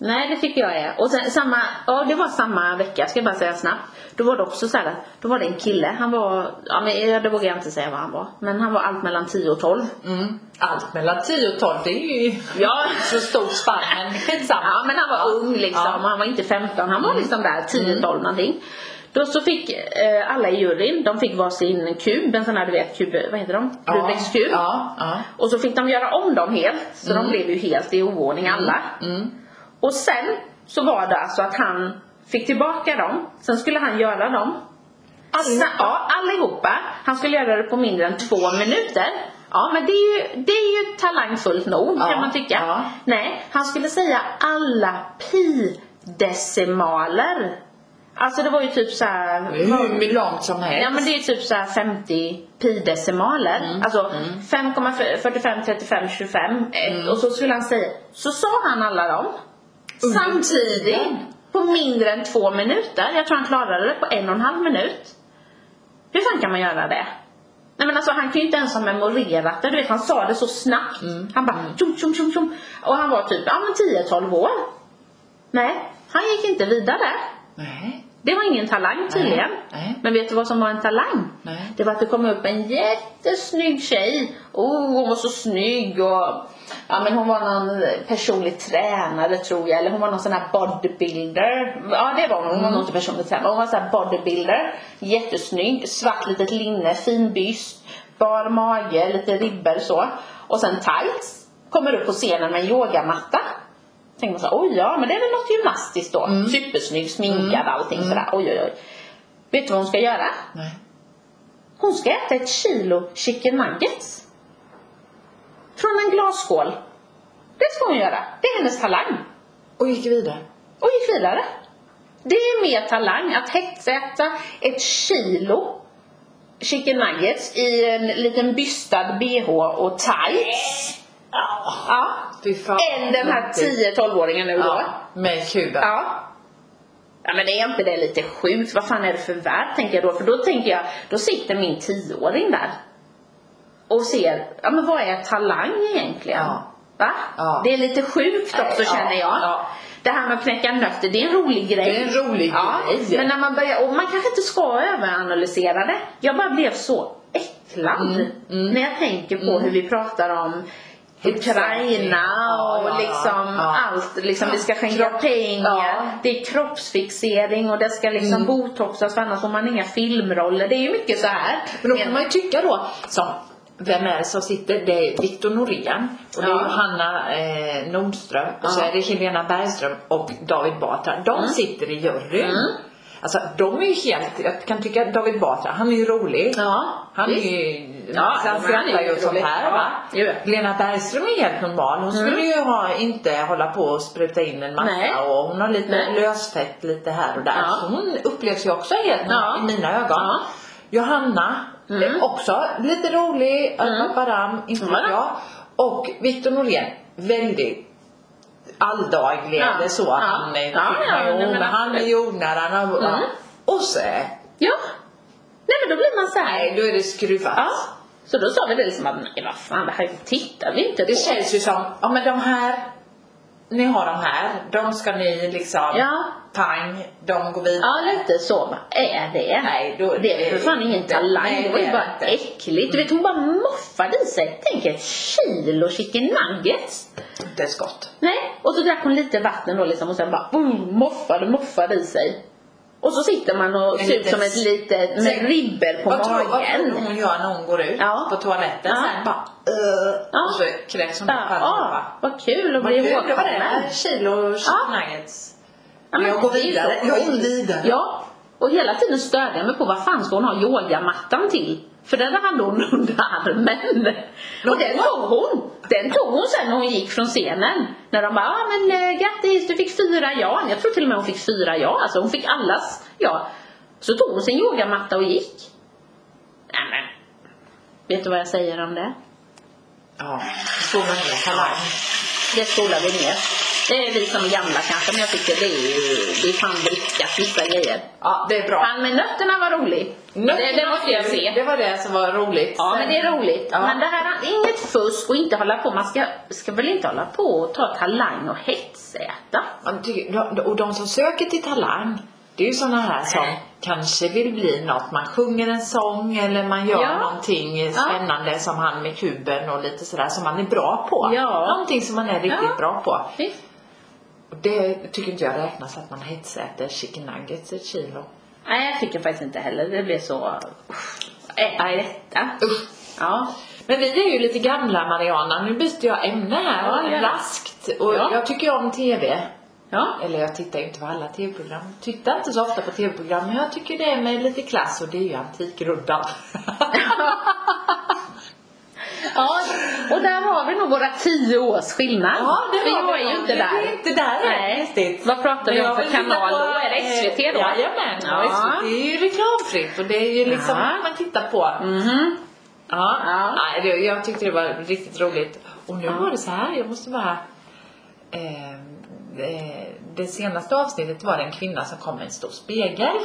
Nej det tycker jag är. Och sen samma, ja det var samma vecka ska jag bara säga snabbt. Då var det också så här, att- då var det en kille. Han var, ja men ja, det vågar jag inte säga vad han var. Men han var allt mellan 10 och 12. Mm. Allt mellan 10 och 12, det är ju Ja. så stort spann men skitsamma. Ja men han var ung liksom, Ja. Mm. han var inte 15, han var liksom där 10-12 någonting. Då så fick eh, alla i juryn, de fick varsin kub, en sån här du vet kub, vad heter de? Ja, Rubiks kub. Ja, Mm. ja. Och så fick de göra om dem helt, så de blev ju helt i oordning alla. Mm. Och sen så var det alltså att han fick tillbaka dem, sen skulle han göra dem. Allihopa? Sen, ja, allihopa. Han skulle göra det på mindre än två minuter. Ja, men det är ju, det är ju talangfullt nog Ja, kan man tycka. ja. Nej, han skulle säga alla pi-decimaler. Alltså det var ju typ så här. Hur långt som helst. Ja men det är typ så här 50 pi-decimaler. Alltså 5,45, 35, 25. eh, Och så skulle han säga, så sa han alla dem. Samtidigt. På mindre än två minuter. Jag tror han klarade det på en och en halv minut. Hur fan kan man göra det? Nej men alltså han kan ju inte ens ha memorerat det. Du vet han sa det så snabbt. Han bara tjum tjum tjum tjum. Och han var typ, ja men 10-12 år. Nej, han gick inte vidare. Nej. Det var ingen talang tydligen. Nej, nej. Men vet du vad som var en talang? Nej. Det var att det kom upp en jättesnygg tjej. Oh, hon var så snygg och ja, men hon var någon personlig tränare tror jag. Eller hon var någon sån här bodybuilder. Ja det var hon. Hon var nog inte personlig tränare. Hon var sån här bodybuilder. Jättesnygg. Svart litet linne. Fin byst. Bar mage. Lite ribbor så. Och sen tights. Kommer upp på scenen med en yogamatta tänker man så här, oj ja men det är väl något gymnastiskt då. Supersnygg, sminkad allting sådär. Oj oj oj. Vet du vad hon ska göra? Nej. Hon ska äta ett kilo chicken nuggets. Från en glasskål. Det ska hon göra. Det är hennes talang. Och gick vidare. Och gick vidare. Det är ju mer talang att hetsäta ett kilo chicken nuggets i en liten bystad bh och tights. Ja. Fy fan. Än den här 10-12-åringen nu då. Ja, med kuben. Ja. Ja men det är inte det lite sjukt? Vad fan är det för värld tänker jag då? För då tänker jag, då sitter min tioåring där och ser, ja men vad är talang egentligen? Ja. Va? Ja. Det är lite sjukt också Ja, känner jag. ja. Det här med att knäcka nötter, det är en rolig grej. Det är en rolig ja. grej. Men när man börjar, och man kanske inte ska överanalysera det. Jag bara blev så äcklad Mm, mm. när jag tänker på hur vi pratar om Exakt. Ukraina Ja, ja, och ja. liksom Ja. allt. Liksom, Ja. vi ska skänka Kropp. pengar. Ja. Det är kroppsfixering och det ska liksom Mm. botoxas för annars får man inga filmroller. Det är ju mycket så här. Men då kan man ju tycka då, som vem är det som sitter? Det är Victor Norén och det är Ja. Johanna eh, Nordström och så Ja. är det Helena Bergström och David Batra. De sitter i juryn. Mm. Alltså de är ju helt, jag kan tycka att David Batra, han är ju rolig. Ja, Han är visst. ju, Ja, han men han skrattar är ju ju åt sånt rolig. här Ja, va. ju. Lena Bergström är helt normal. Hon skulle ju ha, inte hålla på och spruta in en massa Nej. och hon har lite Nej. lösfett lite här och där. Ja. Så hon upplevs ju också helt Ja. i mina ögon. Ja. Johanna, Mm. eh, också lite rolig, mm. Baram, inte vet Ja. jag. Och Victor Norén, väldigt alldaglig. Ja. Det är så Ja. han är. Ja, ja, jo, nej, men men han är absolut. jordnära. Han har, Mm. Och så, Ja. Nej men då blir man så här. nej då är det skruvat. Ja. Så då sa vi det liksom att nej vad fan det här tittar vi inte på. Det känns ju som, ja men de här, ni har de här, de ska ni liksom, Ja. pang, de går vidare. Ja lite så. Vad är det? Nej, då- det är väl för fan ingen inte. talang. Nej, Det var ju det är bara inte. äckligt. Du vet hon bara moffade i sig. Tänk ett kilo chicken nuggets. Inte ett skott. Nej. Och så drack hon lite vatten då liksom och sen bara boom, moffade moffade i sig. Och så sitter man och En ser ut liten- som ett litet med ribbor på vad tror, vad magen. tror hon gör när hon går ut Ja. på toaletten Ja. sen? Bara, uh, Ja. Och så kräks hon upp Bara, här och ah, bara, vad kul att Vad bli kul, det var det. ihågkommen. Här, Kilo chicken nuggets. Ja, men jag går det är ju vidare. så. Jag går vidare. Ja, och hela tiden störde jag mig på vad fan ska hon ha yogamattan till? För den hade hon under armen. Och den tog hon. Den tog hon sen när hon gick från scenen. När de bara, ah, men eh, grattis du fick fyra ja. Jag tror till och med hon fick fyra ja. Alltså hon fick allas ja. Så tog hon sin yogamatta och gick. Nämen. Vet du vad jag säger om det? Ja. Så mycket talang. Det skolar vi ner. Det är vi som är gamla kanske, men jag tycker det är ju, det är fan vrickat vissa grejer. Ja, det är bra. Han med nötterna var rolig. Nötterna det, det måste jag var kul. se. Det var det som var roligt. Ja Sen- men det är roligt. Ja. Men det här är inget fusk och inte hålla på. Man ska, ska väl inte hålla på och ta talang och hetsäta. Man tycker, de- och de som söker till Talang, det är ju sådana här som kanske vill bli något. Man sjunger en sång eller man gör Ja. någonting spännande som han med kuben och lite sådär som man är bra på. Ja. Någonting som man är riktigt Ja. bra på. Visst. Och Det tycker inte jag räknas att man hetsäter chicken nuggets ett kilo. Nej jag tycker faktiskt inte heller. Det blir så... Nej. Usch. Ja. Men vi är ju lite gamla Mariana, nu byter jag ämne här Ja, gärna. raskt. Och Ja. jag tycker ju om TV. Ja. Eller jag tittar ju inte på alla TV-program. Tittar inte så ofta på TV-program. Men jag tycker det är med lite klass och det är ju (laughs) Antikrundan. ja. Och där har vi nog våra tio års skillnad. vi var är det. ju inte (laughs) Vi är där. inte där Nej. än riktigt. Vad pratar vi Men jag om för vill titta kanal på, då? Är det eh, SVT då? Jajamän. Ja. Ja. Det är ju reklamfritt och det är ju liksom Ja. vad man tittar på. Mhm. Mm. Ja. Ja. Nej, det, jag tyckte det var riktigt roligt. Och nu Ja. var det så här, jag måste bara... Eh, det, det senaste avsnittet var det en kvinna som kom med en stor spegel.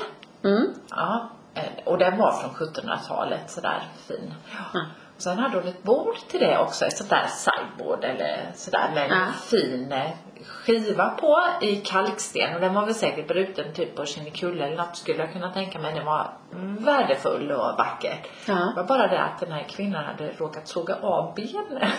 Mm. Ja, eh, och den var från 1700-talet sådär fin. Ja. Mm. Och sen hade hon ett bord till det också, ett sånt där sideboard eller sådär med en Ja. fin eh, skiva på i kalksten och den var väl säkert bruten typ på Kinnekulle eller något skulle jag kunna tänka mig. Den var värdefull och vacker. Ja. Det var bara det att den här kvinnan hade råkat såga av benen (laughs)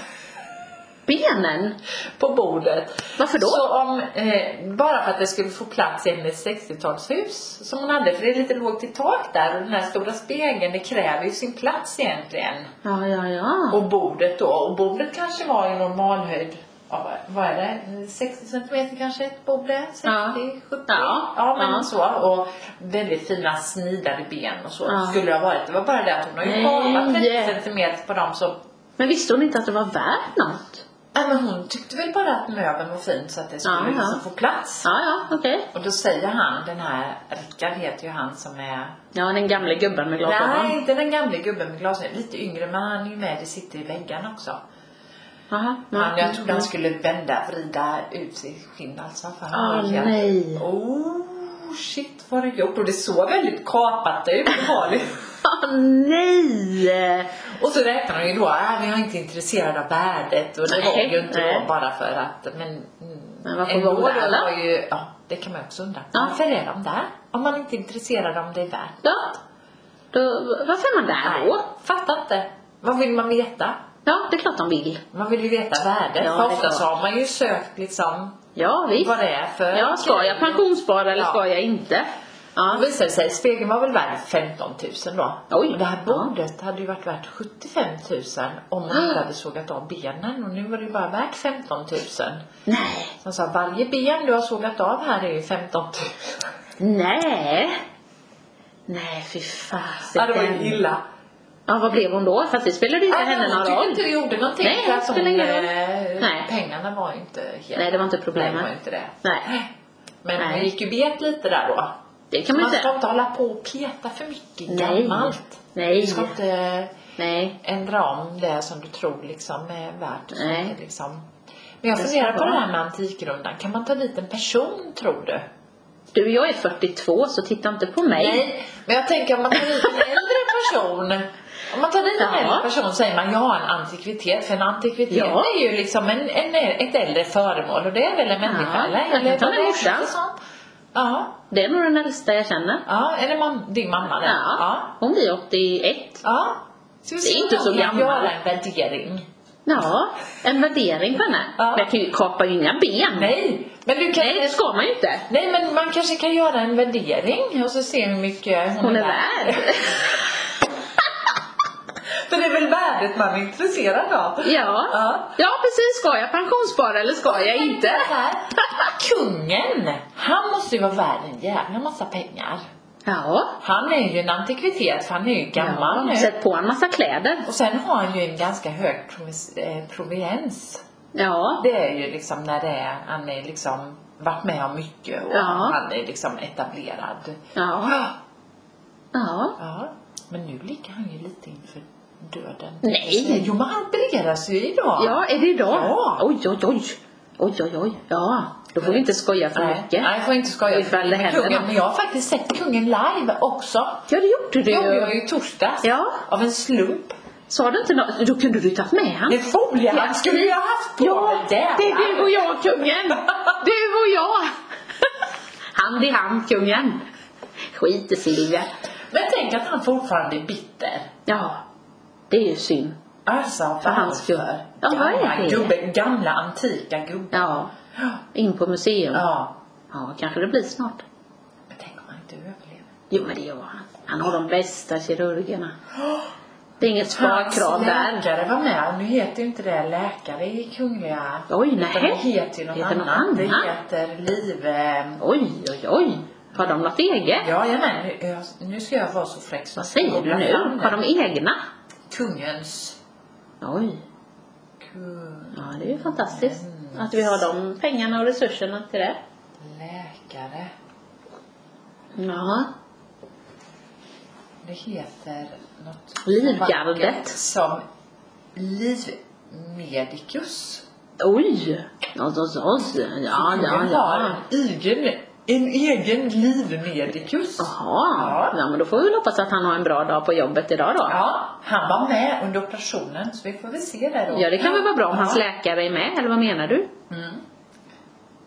Benen. på bordet. Varför då? Så om, eh, bara för att det skulle få plats i hennes 60-talshus som hon hade, för det är lite lågt i tak där och den här stora spegeln, det kräver ju sin plats egentligen. Ja, ja, ja. Och bordet då, och bordet kanske var i normalhöjd, ja, vad är det, 60 centimeter kanske ett bord är? 60, Ja. 70? Ja. men Ja. så. Och väldigt fina snidade ben och så Ja. skulle det ha varit. Det var bara det att hon har ju Nej. kapat 30 centimeter på dem så Men visste hon inte att det var värt något? Nej, men hon tyckte väl bara att möbeln var fin så att det skulle Ja, ja. liksom få plats. Ja, ja, okej. Och då säger han, den här Rickard heter ju han som är... Ja, den gamle gubben Nej, med glasögon. inte den gamle gubben med glasögon. Lite yngre, men han är ju med. Det sitter i väggarna också. Mm. Aha, Han, jag trodde han skulle vända, vrida ut sitt skinn alltså. För han Åh, var helt... Ah, nej. Oh, shit vad har du gjort. Och det såg väldigt kapat ut. Det var det. Åh, nej! (laughs) Och så räknar de ju då, äh, men jag är inte intresserad av värdet och det var Nej, ju inte nej. då bara för att men Men varför ändå bor då där, var ju, ja det kan man också undra. Ja. Varför är de där? Om man inte är intresserad om det är värt. Ja. Då, varför är man där då? Fattar inte. Vad vill man veta? Ja, det är klart de vill. Man vill ju veta värdet. Ja, det för är ofta klart. så har man ju sökt liksom Ja, visst. vad det är för Ja, ska jag pensionsspara eller Ja. ska jag inte? Då Ja. visade det sig, spegeln var väl värd 15 000 då. Oj. Och det här Ja. bordet hade ju varit värt 75 000 om man Ah. inte hade sågat av benen och nu var det ju bara värt 15 000. Så Nej. han sa, varje ben du har sågat av här är ju 15 000. Nej. Nej, fy fasiken. Ja, det var ju illa. Ja, vad blev hon då? Fast det spelade inte Nej, henne någon tyckte roll. inte det gjorde någonting Nej, för att hon, spelar ingen roll. eh, Nej. pengarna var ju inte helt... Nej, det var inte Nej, det var ju problemet. inte det. Nej, Men Nej. hon gick ju bet lite där då. det kan man Man ju ska säga. inte hålla på och peta för mycket i Nej. gammalt. Du Nej, ska inte nej. ändra om det som du tror liksom är värt. och som Nej. är Liksom. Men jag Det ska funderar på det vara. här med Antikrundan. Kan man ta dit en person tror du? Du, jag är 42 så titta inte på mig. Nej, men jag tänker om man tar dit en äldre person. Om man tar dit en Ja. äldre person säger man ja en antikvitet. För en antikvitet Ja. är ju liksom en, en, ett äldre föremål och det är väl en människa Ja, eller? jag kan eller ta vad med det är, morsan. något sånt. Ja, Det är nog den äldsta jag känner. ja. eller mam- din mamma där. Ja, hon blir 81. ja. Så vi Det är ser inte om så vi kan gammal. göra en värdering. Ja, en värdering på henne. Ja. Men jag kan ju kapa ju inga ben. Nej, men du kan Nej, det ska man ju inte. Nej men man kanske kan göra en värdering och så se hur mycket hon, Hon är (laughs) värd. För det är väl värdet man är intresserad av? Ja. Ja. ja, precis. Ska jag pensionsspara eller ska jag inte? Så här, Kungen, han måste ju vara värd en jävla massa pengar. Ja. Han är ju en antikvitet för han är ju gammal ja. nu. Sätt på en massa kläder. Och sen har han ju en ganska hög provis- eh, proviens. Ja. Det är ju liksom när det är, han är liksom varit med om mycket och Ja. han är liksom etablerad. Ja. Ja. Ja. Ja, men nu ligger han ju lite inför döden. Nej. Jo, men han opereras ju idag. Ja, är det idag? Ja. Oj, oj, oj. Oj, oj, oj. Ja. Då får vi inte skoja för Nej, mycket. nej, jag får inte skoja Ifall det med händer kungen. något. Men jag har faktiskt sett kungen live också. Ja, det gjorde Det du gjorde ju. jag ju i torsdags. Ja. Av en slump. Sa du inte något? Då kunde du tagit med han. Det folie Ja. han skulle jag ha haft på Ja, mig. det Jävlar. är du och jag kungen. Du och (laughs) jag. Hand i hand kungen. Skit i Silvia. Men tänk att han fortfarande är bitter. Ja, det är ju synd. Alltså varför? För hans skull. Ja, vad är gamla, det? gubbe, gamla antika gubben. Ja, in på museum. Ja. Ja, kanske det blir snart. Men tänk om han inte överlever. Jo, men det gör han. Han har de bästa kirurgerna. Det är inget sparkrav Hans där. läkare var med. Nu heter ju inte det läkare i Kungliga Oj, Utan Det nej. heter ju något Heter något annat. Det annat? heter liv... eh, Oj, oj, oj. Har de något eget? Ja, jajamän. Nu- jag- Nu ska jag vara så fräck som Vad säger du nu? Har de egna? Kungens... Oj. Kung... Ja, det är ju fantastiskt. Att vi har de pengarna och resurserna till det. Läkare. Ja. Det heter något... Livgardet. vackert Som livmedikus. Oj! Oj, oj, oj. Ja, ja, Kungen har ja. en egen, en egen livmedikus. Jaha. Ja, men då får vi väl hoppas att han har en bra dag på jobbet idag då. Ja, han var med under operationen så vi får väl se det då. Ja, det kan väl vara bra om Ja. hans läkare är med, eller vad menar du? Mm.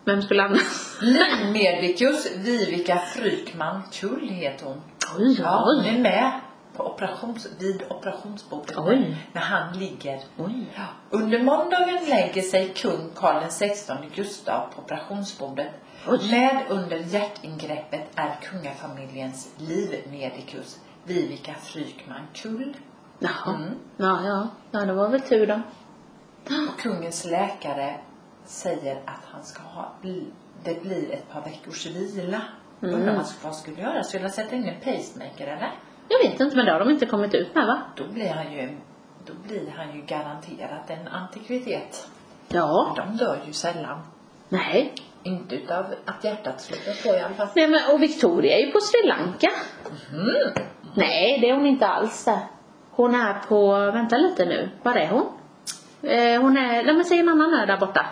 Vem skulle annars? Livmedikus Vivica Frykman Kull heter hon. Oj, Ja, hon oj, är med på operations, vid operationsbordet Oj. när han ligger. oj. Ja, Under måndagen lägger sig kung Karl XVI Gustav på operationsbordet. Oj. Med under hjärtingreppet är kungafamiljens livmedikus Vivica Frykman Kull. Jaha. Mm. Ja, ja. Ja, det var väl tur då. Och kungens läkare säger att han ska ha, bli- det blir ett par veckors vila. Mm. Undrar vad vad skulle göra? Skulle han sätta in en pacemaker eller? Jag vet inte, men det har de inte kommit ut med va? Då blir han ju, då blir han ju garanterat en antikvitet. Ja. De dör ju sällan. Nej. Inte utav att hjärtat slutar på i alla fall. Nej men, och Victoria är ju på Sri Lanka. Nej, det är hon inte alls där. Hon är på, vänta lite nu, var är hon? Eh, hon är, nej men säg en annan ö där borta.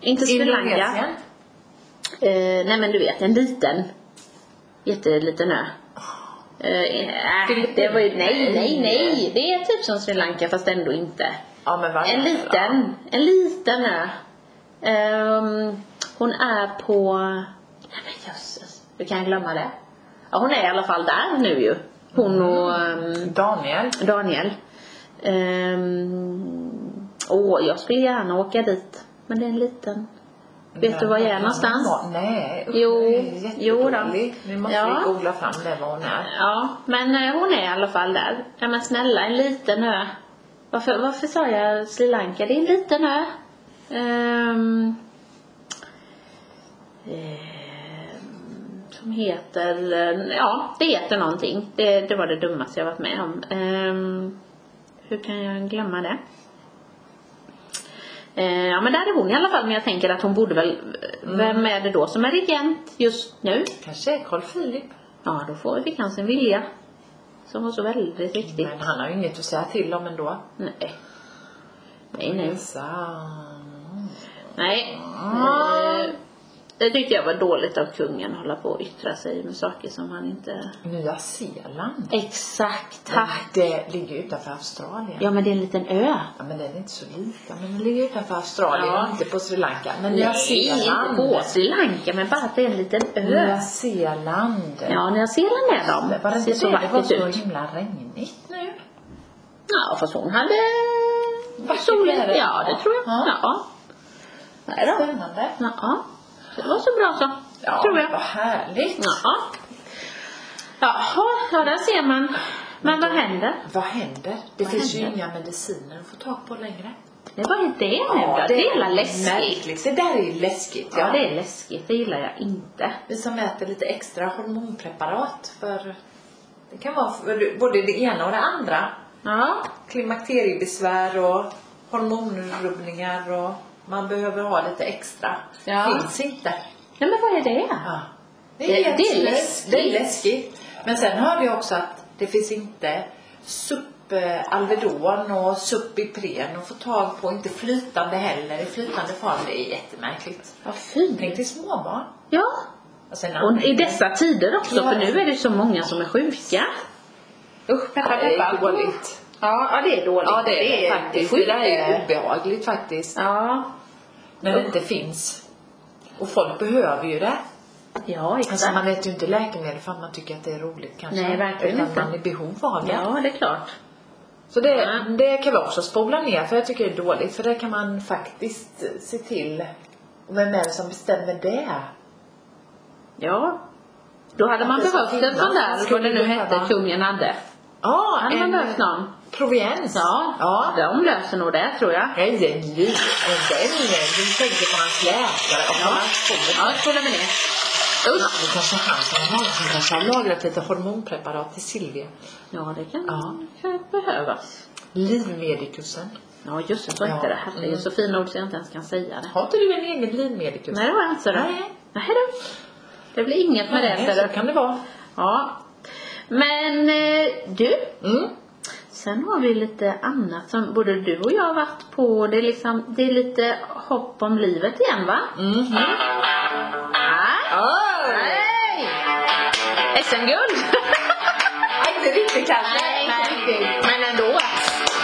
Inte Sri Lanka. Indonesien? Eh, nej men du vet, en liten, jätteliten ö. Eh, äh, det var ju, nej, nej, nej. Det är typ som Sri Lanka fast ändå inte. Ja, men vad är En det då? liten, en liten ö. Ehm, hon är på... Nej men jösses, hur kan jag glömma det? Ja, hon är i alla fall där nu ju. Hon och ehm, Daniel. Daniel. Ehm, åh, jag skulle gärna åka dit. Men det är en liten. Vet du var jag är någonstans? Nej, usch, Jo, det är jättedålig. jo då. Nu måste Ja. vi googla fram det var hon är. Ja, men eh, hon är i alla fall där. Ja, men snälla, en liten ö. Varför, varför sa jag Sri Lanka? Det är en liten ö. Ehm, ehm, som heter... eh, Ja, det heter någonting. Det, det var det dummaste jag varit med om. Ehm, hur kan jag glömma det? Eh, ja, men där är hon i alla fall. Men jag tänker att hon borde väl... eh, Vem är det då som är regent just nu? Kanske är Carl Philip. Ja, då får, fick han sin vilja. Som var så väldigt viktig. Men han har ju inget att säga till om ändå. Nej. Nej, nej. Minsann. Nej. Ah. Eh, Det tyckte jag var dåligt av kungen att hålla på och yttra sig med saker som han inte... mm, Nya Zeeland. Exakt, Men tack. Det ligger ju utanför Australien. Ja, men det är en liten ö. Ja, men den är inte så liten. Men den ligger utanför Australien Ja. och inte på Sri Lanka. Men Nya inte Zeeland. på Sri Lanka, men bara att det är en liten ö. Nya Zeeland. Ja, Nya Zeeland är Det de. var Ser inte så det? Det var vackert så ut. himla regnigt nu. Ja, fast hon hade Vackert solen. väder. Ja, det tror jag. Ja. Ja. Nej då. Spännande. Ja. Det var så bra så. Ja, tror jag. vad härligt. Ja. Jaha, ja där ser man. Men vad händer? Vad händer? Det Vad finns ju händer? inga mediciner att få tag på längre. Det var ju det nu då. Det är jävla läskigt. märkligt. Det där är ju läskigt. Ja, det är läskigt. Det gillar jag inte. Vi som äter lite extra hormonpreparat för det kan vara för både det ena och det andra. Ja. klimakteriebesvär och hormonrubbningar och man behöver ha lite extra. Ja. Finns inte. Nej, men vad är det? Ja. Det- det är jätteläskigt. läskigt. det är läskigt. Men sen hörde jag också att det finns inte SUP eh, Alvedon och SUP Ipren att få tag på. Inte flytande heller i flytande form. Det är jättemärkligt. Vad Tänk fint. till småbarn. Ja. Och sen Och i dessa tider också, Ja. för nu är det så många som är sjuka. Usch, Ja, det är dåligt. Ja, ja, det är dåligt. Ja, det är faktiskt. Det sjukt. där är obehagligt faktiskt. Ja. När det inte finns. Och folk behöver ju det. Ja, Alltså exakt. man äter ju inte läkemedel för att man tycker att det är roligt kanske. Nej, verkligen Utan inte. man är i behov av det. Ja, det är klart. Så det, Ja. det kan vi också spola ner för jag tycker det är dåligt. För det kan man faktiskt se till. Och Vem är det som bestämmer det? Ja. Då hade man Att det ska behövt en finnas. sån där, Skulle vad det nu det hette, behöva- kungen hade. Ja, Hade man behövt någon? proviens. Ja, ja. de löser nog det tror jag. Nej, det är liv. Och den, du tänker på hans läkare. Och Ja, hans kompis. ja jag håller med det. Usch! Det kanske är han som har, som kanske har lagrat lite hormonpreparat till Silvia. Ja, det kan Ja. kan behövas. Livmedikusen. Ja, just det, så hette Ja, det. Herregud, mm. så fina ord så jag inte ens kan säga det. Har inte du en egen livmedikus? Nej, det var jag inte. Nej. Nej. Nej då. Det blir inget med det. Nej, ser så du. kan det vara. Ja. Men eh, du, Mm. Sen har vi lite annat som både du och jag har varit på. Det är, liksom, det är lite hopp om livet igen va? Mhm. Nej! Oj! Nej! (laughs) SM-guld! Nej, Inte riktigt kanske. Nej, men ändå.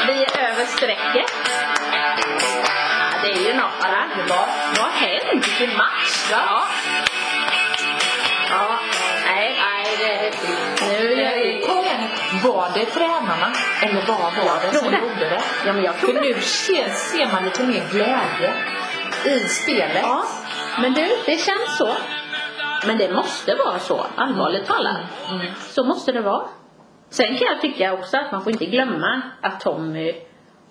Vi är över strecket. Ja, det är ju något va? Underbart. Vad har hänt? Vilken match va? Ja. Ja, nej, nej det är häftigt. Nu är vi... Kom igen nu. Var det tränarna? Eller vad var det tror som det. gjorde det? Ja, men jag För tror det. nu ser, ser man lite mer glädje i spelet. Ja, men du, det känns så. Men det måste vara så, allvarligt talat. Mm. Så måste det vara. Sen kan jag tycka också att man får inte glömma att Tommy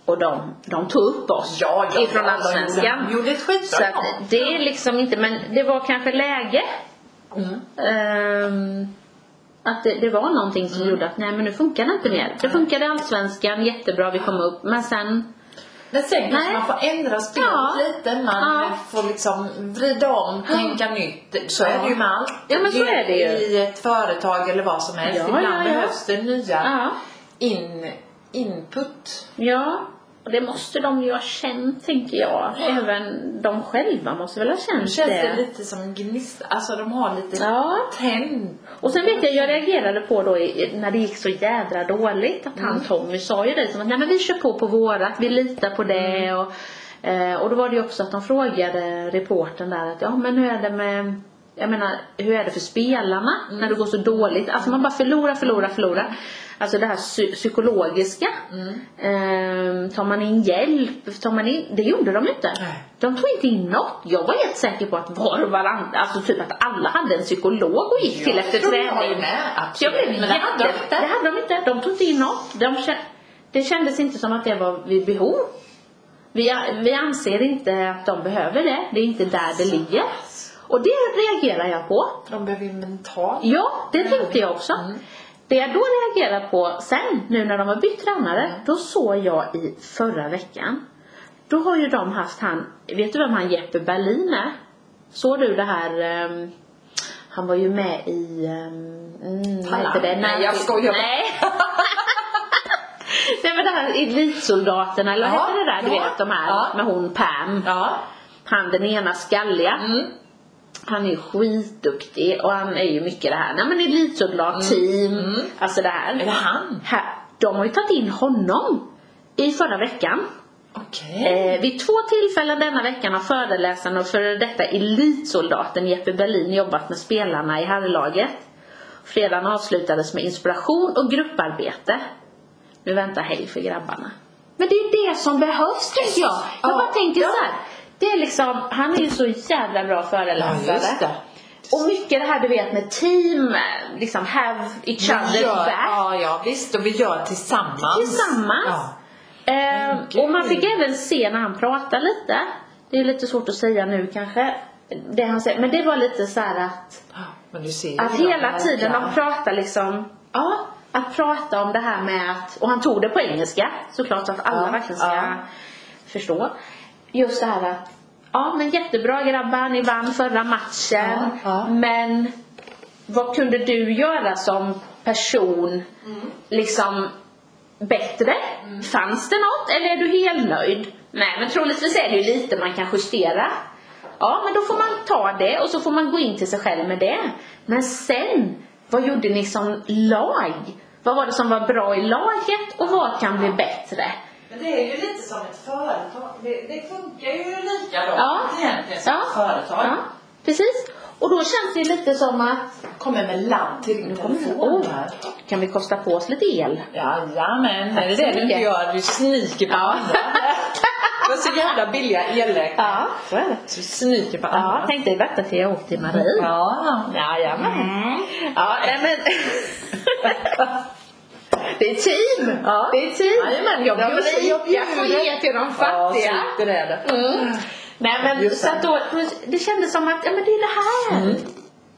och de, de tog upp oss Ja, ja, ifrån ja, Allsvenskan. de gjorde ett skitbra Så att det är liksom inte, men det var kanske läge. Mm. Ehm, att det, det var någonting Mm. som gjorde att, nej men nu funkar det inte mer. Det funkade i Allsvenskan jättebra, vi kom upp, men sen Men sen kanske Nej. man får ändra spelet Ja. lite. Man Ja. får liksom vrida om, tänka nytt. Så är det ju med allt. Ja, men så är det ju. I ett företag eller vad som helst. Ja, Ibland ja, ja. behövs det nya Ja. in, input. Ja, Och det måste de ju ha känt, tänker jag. Även de själva måste väl ha Nu känt känns det lite som en gnista. Alltså de har lite Mm, Ja. tänd. Och sen vet jag, jag reagerade på då i- i- när det gick så jädra dåligt att han Tommy sa ju det som att nej men vi kör på på vårat, vi litar på det och, eh, och då var det ju också att de frågade reportern där att ja men hur är det med jag menar, hur är det för spelarna när det går så dåligt? Alltså man bara förlorar, förlorar, förlorar. Alltså det här psy- psykologiska. Ehm, tar man in hjälp? Tar man in, det gjorde de inte. Nej. De tog inte in något. Jag var helt säker på att var och varann, alltså typ att alla hade en psykolog och gick till Jag efter tror jag träning. med, absolut. Så jag blev Men det hade de jätte- inte. Det hade de inte. De tog inte in något. De kä- det kändes inte som att det var vid behov. Vi, vi anser inte att de behöver det. Det är inte där det ligger. Och det reagerar jag på. De behöver ju Mm. mental. Ja, det tänkte jag också. Det jag då reagerar på sen, nu när de har bytt tränare, då såg jag i förra veckan. Då har ju de haft han, vet du vem han Jeppe Berlin är? Såg du det här, ehm, han var ju med i, ehm, mm, vad heter det? Talang. Nej, jag skojar bara. (laughs) Nej. Nej men det här elitsoldaterna, eller vad Ja, heter det där, du ja, vet de här ja. med hon Pam. Ja. Han den ena skalliga. Mm. Han är ju skitduktig och han är ju mycket det här, nej men elitsoldat, Mm. team, alltså det här. Är det han? här. De har ju tagit in honom i förra veckan. Okej. Eh, vid två tillfällen denna veckan har föreläsaren och före detta elitsoldaten Jeppe Berlin jobbat med spelarna i herrlaget. Fredagen avslutades med inspiration och grupparbete. Nu väntar hej för grabbarna. Men det är det som behövs tycker jag. Jag Ja, bara tänker ja. så här. Det är liksom, han är ju så jävla bra föreläsare. Ja, just det. Och mycket det här du vet med team, eh, liksom have each Vi other gör, back. ja, ja, visst. Och vi gör tillsammans. Tillsammans. Ja. Eh, gud. och man fick även se när han pratade lite. Det är lite svårt att säga nu kanske. Det han säger. Men det var lite så här att, Ja, Men du ser ju att de hela här tiden jävla- de pratar liksom. Ja, att prata om det här med att, och han tog det på engelska såklart så att alla Ja, verkligen ska ja. förstå. Just det här att, ja men jättebra grabbar, ni vann förra matchen. Ja, ja. Men vad kunde du göra som person Mm. liksom bättre? Fanns det något eller är du helt nöjd? Nej men troligtvis är det ju lite man kan justera. Ja men då får man ta det och så får man gå in till sig själv med det. Men sen, vad gjorde ni som lag? Vad var det som var bra i laget och vad kan bli bättre? Men det är ju lite som ett företag. Det, det funkar ju likadant Ja. egentligen som ett företag. Ja, precis. Och då känns det lite som att, Kommer med ladd till din kommer det- telefon oh. här. kan vi kosta på oss lite el? Jajamän, är det så det du inte mycket. gör? Du sniker på andra. Du har så jävla billiga elräkningar. Ja, så är det. Du sniker på Ja, andra. tänk dig vänta till jag åkte till Marie. Ja, jajamän. Ja, nej men. Det är team! Ja. Det är team! Jajamän, jag De bjuder- jag rika får bjuder. ge till de Ja, fattiga. så det är det. Mm. Nej men Just så att då, det kändes som att, ja men det är det här.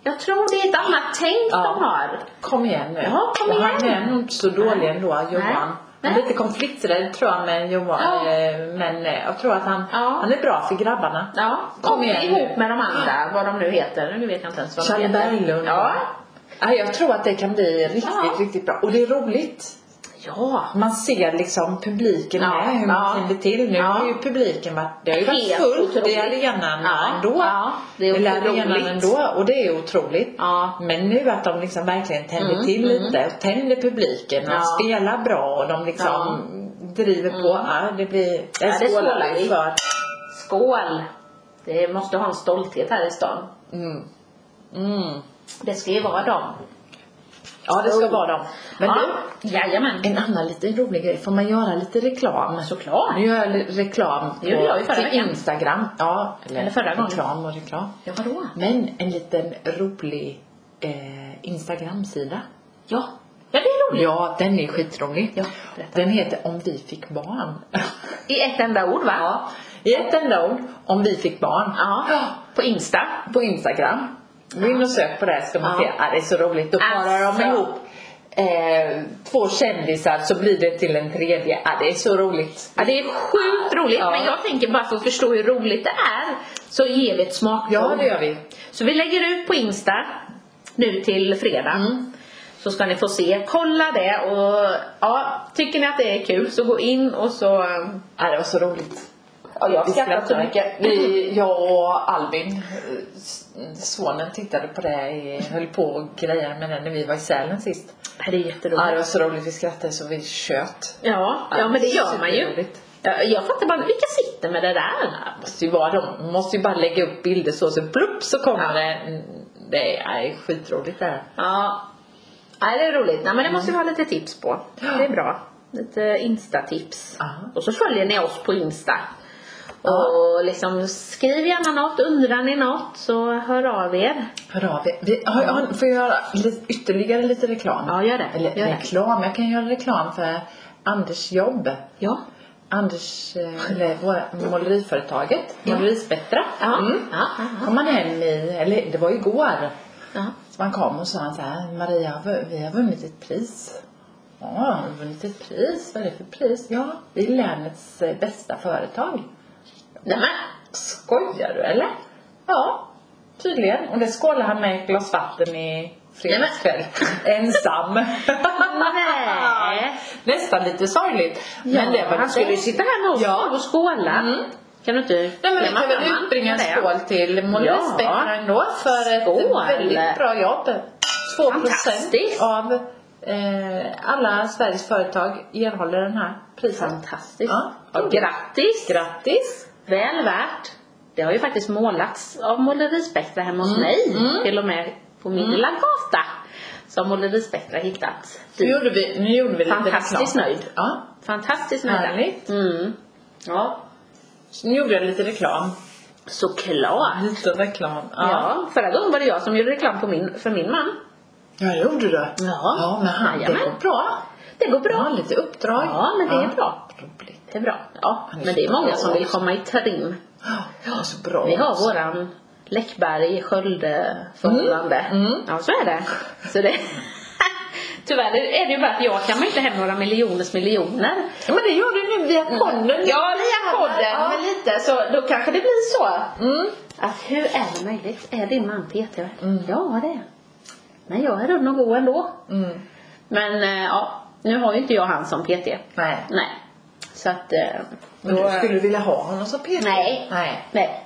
Jag tror det är ett annat tänk Ja. de har. Kom igen nu. Ja, kom Och Han igen. är nog inte så dålig ändå, Johan. Han är Nej. lite konflikträdd tror jag med Johan. Ja. eh, Men eh, jag tror att han, Ja. han är bra för grabbarna. Ja, Kom och igen ihop nu. med de andra, vad de nu heter. Nu vet jag inte ens vad de Charlie heter. Berglund. Ja. Ja, jag tror att det kan bli riktigt, Ja. riktigt bra. Och det är roligt. Ja. Man ser liksom publiken Ja, med, hur ja. man kliver till. Nu Ja. har ju publiken varit, det har ju varit Helt fullt i otroligt. arenan Ja, ändå. ja, det är Eller otroligt. arenan ändå och det är otroligt. Ja. Men nu att de liksom verkligen tänder Mm, till mm. lite och tänder publiken och Ja. spelar bra och de liksom driver på. Ja, det blir, jag Mm. Ja, det skålar skålar vi. för. Skål! Det måste ha en stolthet här i stan. Mm. Mm. Det ska ju vara dem. Ja, det ska Skål. vara dem. Men ja. du, Jajamän. En annan liten rolig grej, får man göra lite reklam? Såklart. Nu gör jag li- reklam på, Det gjorde jag ju förra till veckan. Instagram. Ja, eller, Eller förra gången. reklam och reklam. Ja, vadå? Men en liten rolig eh, Instagram-sida. Ja. Ja, det är roligt. Ja, den är skitrolig. Ja, berätta. den heter Om vi fick barn. (laughs) I ett enda ord va? ja, i ett enda ord, Om vi fick barn. Ja. På Insta. På Instagram. Gå in och sök på det här ska man Ja. se. Ja, det är så roligt. Då parar Alltså. de ihop eh, två kändisar så blir det till en tredje. Ja, det är så roligt. Ja, det är sjukt roligt. Ja. Men jag tänker bara för att förstå hur roligt det är så ger vi ett smakprov. Ja, det gör vi. Så vi lägger ut på Insta nu till fredag. Så ska ni få se. Kolla det och ja, tycker ni att det är kul så gå in och så... Nej, det var så roligt. Ja, jag Vi skrattar så skrattade mycket. mycket. Vi, jag och Albin, eh, s- sonen, tittade på det, i- höll på och grejade med det när vi var i Sälen sist. Det är jätteroligt. Ja, det var så roligt. Vi skrattade så vi tjöt. Ja, ja men det gör man ju. Superroligt. Ja, Jag fattar bara, vilka sitter med det där? måste ju vara de. måste ju bara lägga upp bilder så, så plupp så kommer det. Mm, Det är, är skitroligt det här. Ja. Nej, det är roligt. Nej, men det måste vi ha lite tips på. Det är bra. Lite Insta-tips. Ja. Och så följer ni oss på Insta. Ja. Och liksom skriv gärna något, undrar ni något så hör av er. Hör av er. Vi, har, har, får jag göra li- ytterligare lite reklam? Ja, gör det. Eller Gör det. reklam, jag kan göra reklam för Anders jobb. Ja. Anders, eh, eller våra, måleriföretaget, Ja. Målerispettra. Ja. Mm. Ja, ja, ja. Kom han hem i, eller det var igår. ja. Så han kom och sa han så här, Maria v- vi har vunnit ett pris. Ja, har vi vunnit ett pris? Vad är det för pris? Ja, vi är länets eh, bästa företag. Nej, men. Skojar du eller? Ja, tydligen. Och det skålade han med ett glas vatten i fredags (laughs) kväll. Ensam. Nej. Nästan lite sorgligt. men det var han skulle ju sitta här med oss Ja. och skåla. Mm. Kan du inte... Nej men vi glömma kan väl mamman? utbringa en Det. skål till Målerispektra Ja. ändå för ett Skål. väldigt bra jobb. 2 Fantastiskt. av eh, alla Sveriges företag erhåller den här prisen. Fantastiskt. Ja. Och grattis! Grattis! Väl värt. Det har ju faktiskt målats av målerispektra hemma Mm. hos mig. Till och med på min lilla gata. Som målerispektra hittat. Nu gjorde vi, nu gjorde vi lite Fantastiskt reklam. nöjd. Ja. Fantastiskt nöjda. Härligt. Mm. Ja, Så nu gjorde jag lite reklam. såklart. Lite reklam. Ja. Ja, förra gången var det jag som gjorde reklam på min, för min man. ja det gjorde du. Ja, men han, det Jajamän. går bra. Det går Han bra. har lite uppdrag. Ja, men det är bra. Roligt. Det är bra. Ja, Han är men det är många som bra. vill komma i trim. Ja, så bra. Vi har våran Läckberg Skölde förhållande. Mm, mm. Ja så är det. Så det (laughs) Tyvärr är det ju bara att jag kan inte hem några miljoners miljoner. Mm. Ja, men det gör du nu via podden. Ja via podden Ja. men lite så då kanske det blir så. Mm. Att hur är det möjligt? Är din man Peter? Ja det är Men jag är rund och god ändå. Mm. Men eh, ja, nu har ju inte jag han som PT. Nej. Nej. Så att eh, Men du skulle vilja ha honom som Peter? Nej. Nej. Nej.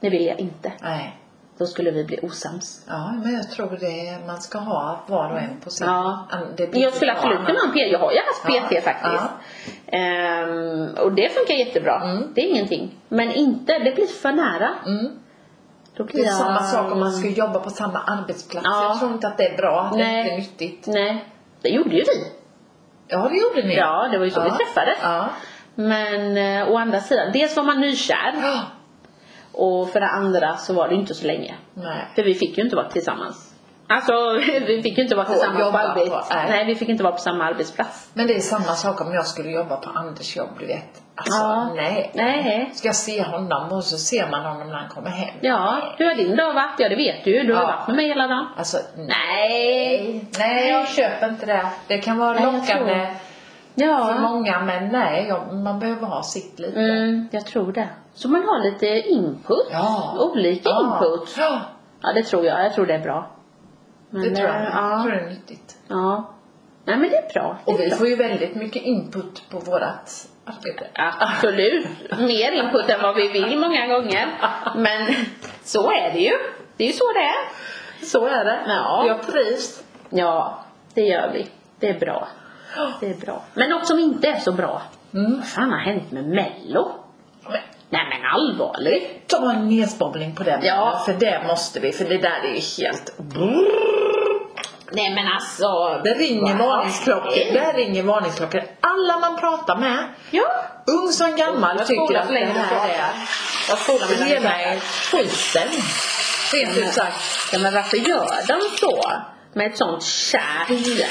Det vill jag inte. Nej. Då skulle vi bli osams. Ja, men jag tror det man ska ha var och en på sin. Ja. An- det blir Jag skulle bra. absolut kunna ha en PT. Jag har ju haft Ja, PT faktiskt. Ehm, och det funkar jättebra. Mm. Det är ingenting. Men inte, det blir för nära. Mm. Då Det blir är jag- samma sak om man ska jobba på samma arbetsplats. Ja. Jag tror inte att det är bra. Det är Nej. inte nyttigt. Nej, det gjorde ju vi. Ja, det gjorde ni. Ja, det var ju så vi träffades. Ja. Men eh, å andra sidan, dels var man nykär ja. och för det andra så var det ju inte så länge. Nej. För vi fick ju inte vara tillsammans. Alltså, (laughs) vi fick ju inte vara På- tillsammans på jobba på- arbets... nej. Nej, vi fick inte vara på samma arbetsplats. Men det är samma sak om jag skulle jobba på Anders jobb, du vet. Alltså, Ja. nej. Nej. Ska jag se honom och så ser man honom när han kommer hem. Ja, hur har din dag varit? Ja, det vet du ju. Du har Ja. varit med mig hela dagen. Alltså, Nej! Nej, jag köper inte det. Det kan vara Nej, jag lockande för Ja. många, men nej, jag, man behöver ha sitt lite. Mm, jag tror det. Så man har lite input. Ja. Olika input. Ja, Ja, det tror jag. Jag tror det är bra. Men, det tror eh, jag. Jag Ja. tror det är nyttigt. ja. Nej, men det är bra. Det är Och vi bra. får ju väldigt mycket input på vårt arbete. Absolut. Mer input än vad vi vill många gånger. (laughs) Men (laughs) så är det ju. Det är ju så det är. Så är det. Ja. Jag trivs. Ja, det gör vi. Det är bra. Det är bra. Men något som inte är så bra. Mm. Vad fan har hänt med Mello? Men, Nej men allvarligt. ta en nedspobbling på den. Ja. För det måste vi, för det där är ju helt... Nej men alltså. Det ringer vad varningsklockor. händer? Det ringer varningsklockor. Alla man pratar med, Ja. ung som gammal, Jag tycker spolar att för det länge här tillbaka. är... Jag spolar mina Hela mina- skiten. Rent ut sagt. Ja, men varför Alltså, gör de så? Med ett sånt kärt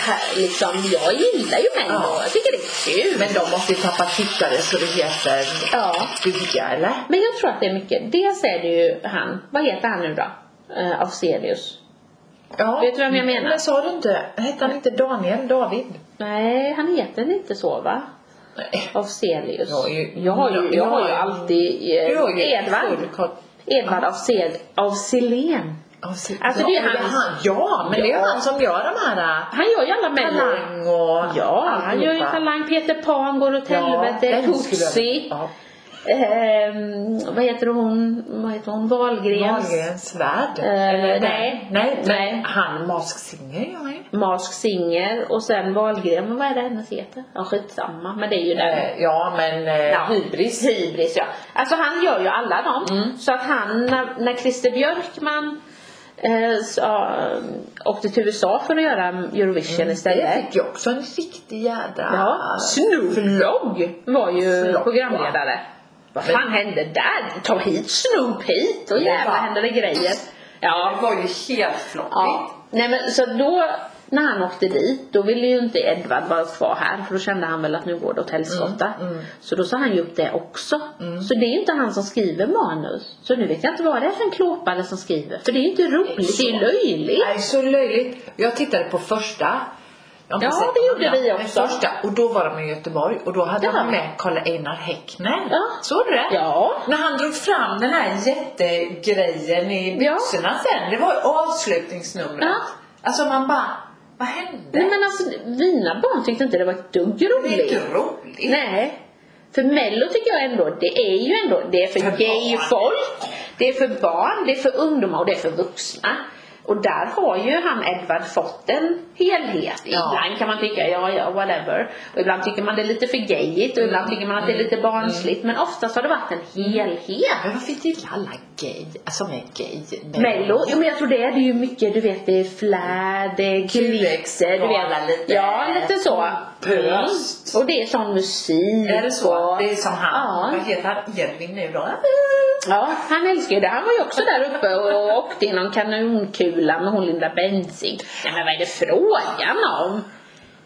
här liksom. Jag gillar ju Mello. Ja. Jag tycker det är kul. Men de måste ju tappa tittare så det heter ja. bygga eller? Men jag tror att det är mycket. Dels är det ju han. Vad heter han nu då? Uh, Afzelius. Ja. Vet du vem jag menar? Men sa du inte, hette han inte Daniel, David? Nej, han heter inte så va? Nej. Afzelius. Jag är ju- jag har ju, jag har ju jag är- alltid eh, Du har ju Edvard. full koll. Edvard Afzel, Afzelén. Alltså, det är ja, hans- Ja, men det Ja. är han som gör de här äh, Han gör ju alla mello. Talang och Ja, han gör ju alltihopa. Talang, Peter Pan går åt helvete, den skulle jag- Tootsie. Ja, Ehm, vad heter hon? Vad heter hon? Wahlgrens. Wahlgrens värld. Eh, Eller nej. nej. Nej. Nej, han Mask Singer gör han ju. Mask Singer och sen Wahlgren. Men Vad är det hennes heter? Ja, skitsamma. Men det är ju den. Eh, Ja, men eh, Ja. hybris. Hybris ja. Alltså han gör ju alla dem. Så att han, när, när Christer Björkman eh, sa, åkte till USA för att göra Eurovision Det istället. fick ju också en riktig jädra... Ja. Snoop Dogg var ju Snoop, ja. programledare. Vad fan hände där? Ta hit Snoop hit och Det jävlar var- hände det grejer. Ja, Det var ju helt floppigt. Ja. Nej men så då när han åkte dit då ville ju inte Edvard vara kvar här för då kände han väl att nu går det åt helskotta. Så då sa han ju upp det också. Så det är ju inte han som skriver manus. Så nu vet jag inte vad det är för en klåpare som skriver. För det är ju inte roligt, det är ju löjligt. Nej, så löjligt. Jag tittade på första. Jag har inte Ja, sett det gjorde den andra, vi men också. Första, och då var de i Göteborg och då hade Ja. han med Karl Einar Häckner. Ja. Såg du det? Ja. När han drog fram den här jättegrejen i Ja. byxorna sen. Det var ju avslutningsnumret. Ja. Alltså man bara, vad hände? Nej men alltså mina barn tyckte inte det var ett dugg det är inte roligt. roligt. Nej. För mello tycker jag ändå, det är ju ändå, det är för, För gay barn. folk, det är för barn, det är för ungdomar och det är för vuxna. Och där har ju han Edvard fått en helhet. Ja. Ibland kan man tycka, ja ja whatever. Och ibland tycker man det är lite för gayigt och Mm. ibland tycker man att det är lite barnsligt. Men oftast har det varit en helhet. Men varför gillar alla gay, som är gay? Mm. Mello, jo men jag tror det är det är ju mycket, du vet det är flärd, det är glitter, du Kul, vet. lite Ja, lite så. Mm. pöst. Och det är sån musik Är det så? och... Det är som han, Ja. vad heter han, Edvin nu då? Ja, han älskar ju det. Han var ju också där uppe och åkte i någon kanonkula med hon Linda Bengtzing. Nej men vad är det frågan om?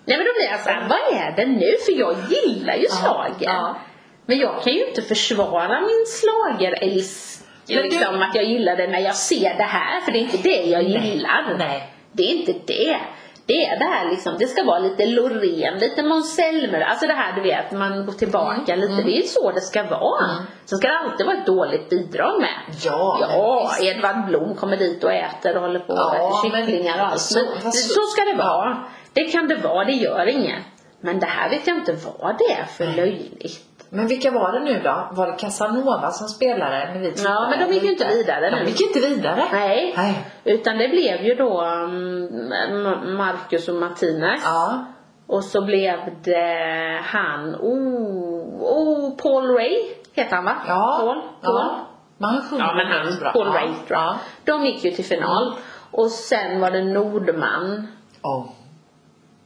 Nej men då blir jag såhär, vad är det nu? För jag gillar ju slagen. ja. Men jag kan ju inte försvara min slagerälsk. Men du- Liksom att jag gillar det när jag ser det här, för det är inte det jag gillar. Nej. Det är inte det. Det är det här liksom, det ska vara lite Loreen, lite Måns Zelmer. Alltså det här du vet, man går tillbaka Mm, lite. Det är ju så det ska vara. Sen ska det alltid vara ett dåligt bidrag med. Ja, men Ja, visst. Edvard Blom kommer dit och äter och håller på och Ja, äter men- kycklingar och allt. så- Men så, fast- så ska det vara. Det kan det vara, det gör inget. Men det här vet jag inte vad det är för löjligt. Men vilka var det nu då? Var det Casanova som spelade när vi tittade? Ja, men de gick ju inte vidare De nu. gick inte vidare. Nej. Nej. Utan det blev ju då mm, Ma- Marcus och Martinez. Ja. Och så blev det han, oh, oh Paul Ray heter han va? Ja. Paul, Paul. Ja. Men han sjunger Ja, men han, väldigt bra. Paul Ja. Ray tror jag. Ja. De gick ju till final. Och sen var det Nordman. Oh.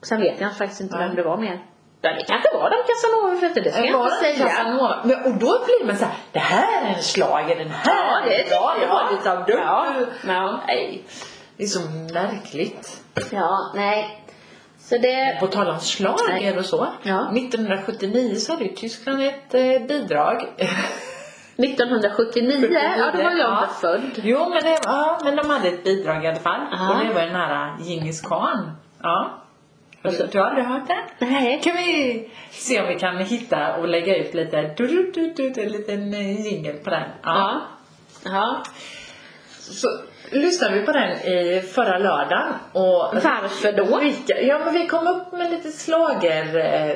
Sen vet jag faktiskt inte Nej. vem det var mer. Ja det kanske var de Casanova för det ska Men jag var inte det säga. Casanova? Men, och då blir man såhär, det här är en schlager, den här Ja, det är bra. tycker Det var jag. liksom, du, Ja. Ja. Nej. Det är så märkligt. Ja, nej. Så det, På tal om schlager Nej. och så. Ja. 1979 så hade ju Tyskland ett eh, bidrag. (laughs) 1979, ja då var jag Ja. inte född. Jo, men, det, ja, men de hade ett bidrag i alla fall. Ja. Och det var den här Djingis khan. Ja. Har Alltså- Du, du har aldrig hört den? Nej. Kan vi se om vi kan hitta och lägga ut lite du, du, du, du, du, en liten eh, jingle på den. Ja. Ja. Ja. Så lyssnade vi på den i förra lördagen. Och Varför då? Vilka, ja, men vi kom upp med lite slager eh, eh,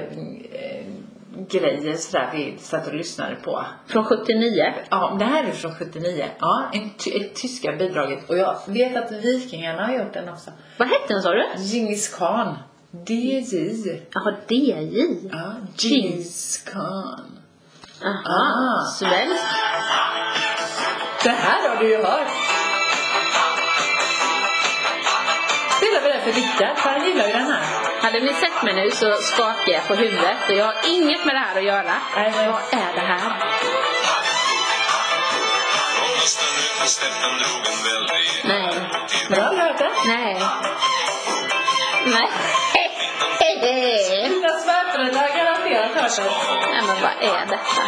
grejer sådär vi satt och lyssnade på. Från 79. Ja, det här är från 79. Ja, en ty- ett tyska bidraget. Och jag vet att vikingarna har gjort den också. Vad hette den sa du? Djingis khan. DJ. Jaha, DJ. Ja, Djingis khan. Aha, Ah. svenskt. Det här har du ju hört. Spelar vi den för Rickard, för han gillar ju den här. Hade ni sett mig nu så skakar jag på huvudet och jag har inget med det här att göra. Nej, men- Vad är det här? Ångesten över steppen drog en väldig Nej. Men har du hört den? Nej. Nej. Mina svärföräldrar har garanterat hört den. Nej men vad är detta?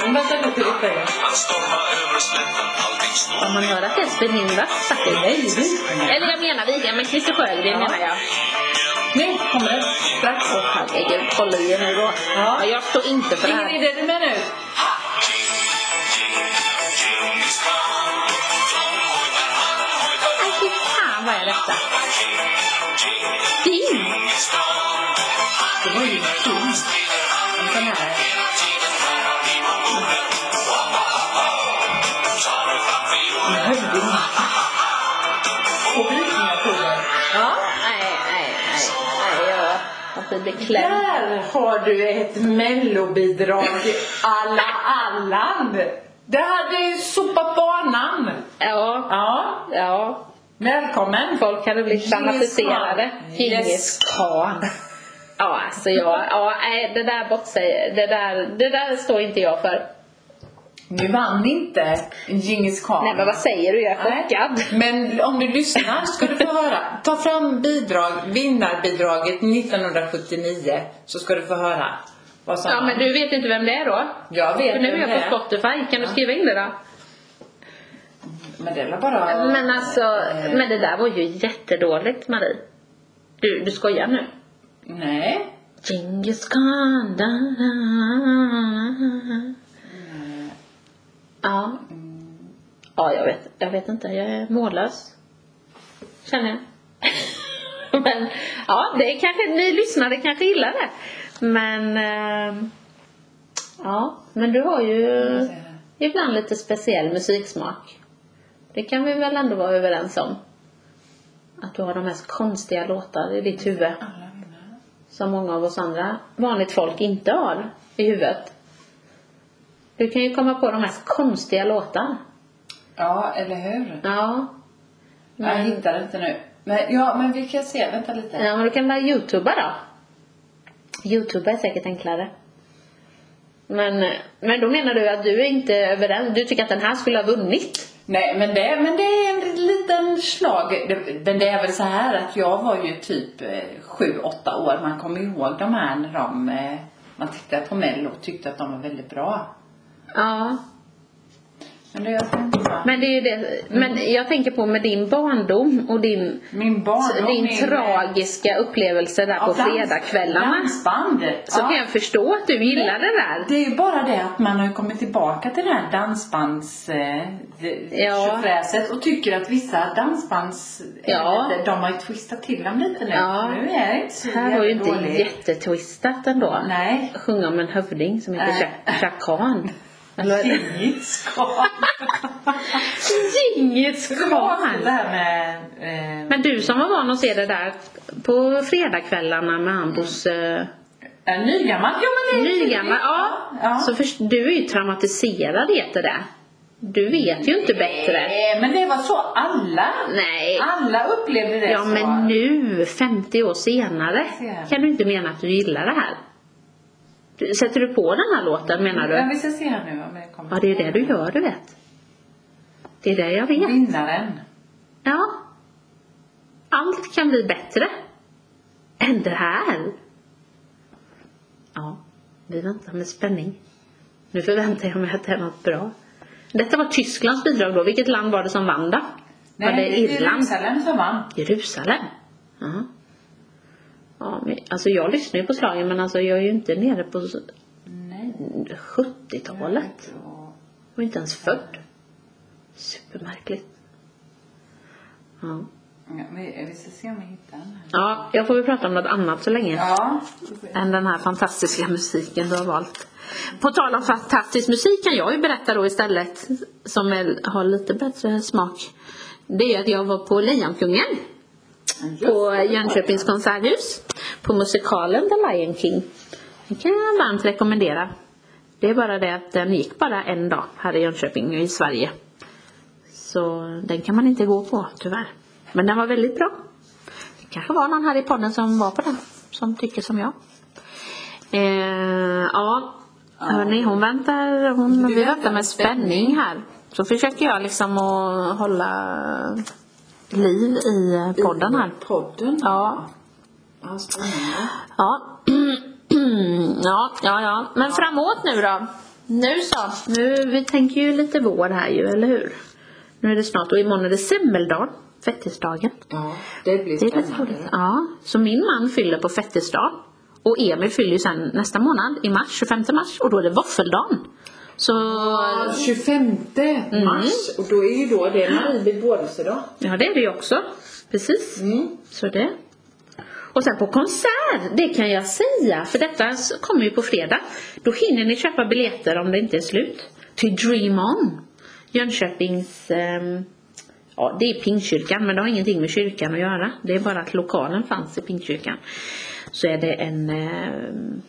Men Vänta nu till lite. Han stormar över slätten, allting står Om man hör att det är förhindrat faktiskt. Nej, vikingarna. Eller jag menar vi, men Christer Sjögren menar jag. Nu kommer den. Strax. Åh herregud, håll i er nu då. Ja. Men Jag står inte för det Ingen här. idé, du med nu? Djingis khan, de hojtar, han hojtar Äh, fan, vad är detta? Ding! Det var ju kul. En sån här... En hövding. Och vikingakungen. Ja, nej, nej, nej. nej jag, jag blir beklämd. Där har du ett mellobidrag i alla allan. Det hade ju sopat banan. Ja, Ja, ja. välkommen. Folk hade blivit fanatiserade. Djingis Djingis khan. Ja, alltså jag, ja, nej, det där bort sig, det där, det där står inte jag för. Nu vann inte Djingis khan. Nej men vad säger du? Jag är Nej. chockad. Men om du lyssnar ska du få höra. Ta fram bidrag, vinnarbidraget 1979 så ska du få höra. Vad sa Ja han? men du vet inte vem det är då? Jag vet För nu är vem jag det är. på Spotify, kan du skriva in det då? Men det är väl bara... Men alltså, Eh, men det där var ju jättedåligt Marie. Du, du skojar nu? Nej. Djingis khan, da, da, da. Ja. Ja, jag vet, jag vet inte. Jag är mållös. Känner jag. (laughs) Men ja, det är kanske, ni lyssnare kanske gillar det. Men eh, ja, men du har ju ibland lite speciell musiksmak. Det kan vi väl ändå vara överens om. Att du har de mest konstiga låtar i ditt huvud som många av oss andra vanligt folk inte har i huvudet. Du kan ju komma på de mest konstiga låtar. Ja, eller hur? Ja. Jag Men, hittar inte nu. Men, ja, men vi kan se. Vänta lite. ja, eh, men du kan bara youtuba då. Youtuba är säkert enklare. Men, eh, men då menar du att du är inte överens, du tycker att den här skulle ha vunnit? Nej, men det, men det är en liten slag. Det- Men det är väl så här att jag var ju typ 7-8 år. Man kommer ihåg de här när de... eh, Man tittade på Mello och tyckte att de var väldigt bra. Ja. Men det gör jag inte. va? Men det är ju det, men jag tänker på med din barndom och din, Min barndom... din min, eh, tragiska upplevelse där ja, på dans- fredagskvällarna. Dansband. Så ja. kan jag förstå att du gillar det där. Det är ju bara det att man har ju kommit tillbaka till det här dansbands eh, d- Ja. tjofräset och tycker att vissa dansbands Ja. eh, de har ju twistat till dem lite nu. Ja. Nu är det inte så Här var ju inte jättedåligt. jättetwistat ändå. Nej. Sjunga om en hövding som Nej. heter Chaka (laughs) Khan. Eller (laughs) Kingiskap. Djingis Det här Khan! med... Eh, Men du som var van att se det där på fredagskvällarna med han Bosse eh, nygammal. Ja men det är Nygammal. Mm. Ja. Ja. Så först, du är ju traumatiserad heter det. Du vet ju inte bättre. Eh, men det var så alla. Nej. Alla upplevde det Ja så. men nu, 50 år senare, Ser. kan du inte mena att du gillar det här? Du- Sätter du på den här låten menar du? Ja, vi ska se här nu om det kommer. Ja, det är det du gör, du vet. Det är det jag vet. Vinnaren. Ja. Allt kan bli bättre. Än det här. Ja, vi väntar med spänning. Nu förväntar jag mig att det är något bra. Detta var Tysklands bidrag då. Vilket land var det som vann då? var det Irland? Jerusalem som vann. Jerusalem? Ja. ja men, alltså jag lyssnar ju på slagen men alltså jag är ju inte nere på s- Nej. 70-talet. Jag var inte ens född. Supermärkligt. Ja. Ja, vi, vi ska se om vi hittar den här. ja, jag får väl prata om något annat så länge. Ja. Än den här fantastiska musiken du har valt. På tal om fantastisk musik kan jag ju berätta då istället. Som är, har lite bättre smak. Det är ju att jag var på Lejonkungen. på Jönköpings konserthus på musikalen The Lion King. Den kan jag varmt rekommendera. Det är bara det att den gick bara en dag här i Jönköping och i Sverige. Så den kan man inte gå på tyvärr. Men den var väldigt bra. Det kanske var någon här i podden som var på den, som tycker som jag. Eh, ja, hörni, hon väntar, hon, vi väntar med spänning här. Så försöker jag liksom att hålla liv i eh, podden här. Podden? Ja. Ja, spännande. Ja. (clears throat) ja, ja, ja. Men framåt nu då. Nu så. Nu, vi tänker ju lite vår här ju, eller hur? Nu är det snart och imorgon är det semmeldagen. Fettisdagen. Ja, det blir Det är lite spännande. roligt. Ja. Så min man fyller på fettisdag. Och Emil fyller ju sen nästa månad i mars, 25 mars. Och då är det våffeldagen. Så, Ja, Mm. 25 mars och då är ju då det Marie vid födelsedag. ja det är det ju också. Precis. Mm. Så det. Och sen på konsert, det kan jag säga, för detta s- kommer ju på fredag. Då hinner ni köpa biljetter om det inte är slut. Till Dream On. Jönköpings, ehm, ja det är Pingstkyrkan men det har ingenting med kyrkan att göra. Det är bara att lokalen fanns i Pingstkyrkan. Så är det en, ehm,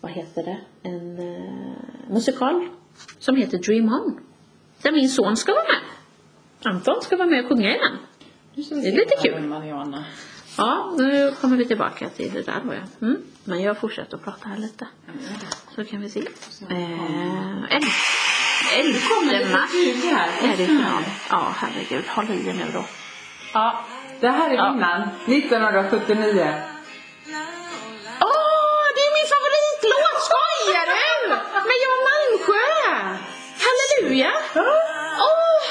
vad heter det, en eh, musikal som heter Dream On. Där min son ska vara med. Anton ska vara med och sjunga i den. Nu ska vi Det är se lite här kul. med Mariana. Ja, nu kommer vi tillbaka till det där då ja. Mm. Men jag fortsätter att prata här lite. Så kan vi se. Eh, el- elfte mars är det final. Ja, herregud. Håll i er nu då. Ja, det här är vinnaren. 1979. Åh, det är min favoritlåt! Skojar du? Med Jan Malmsjö! Halleluja! Ah. Åh,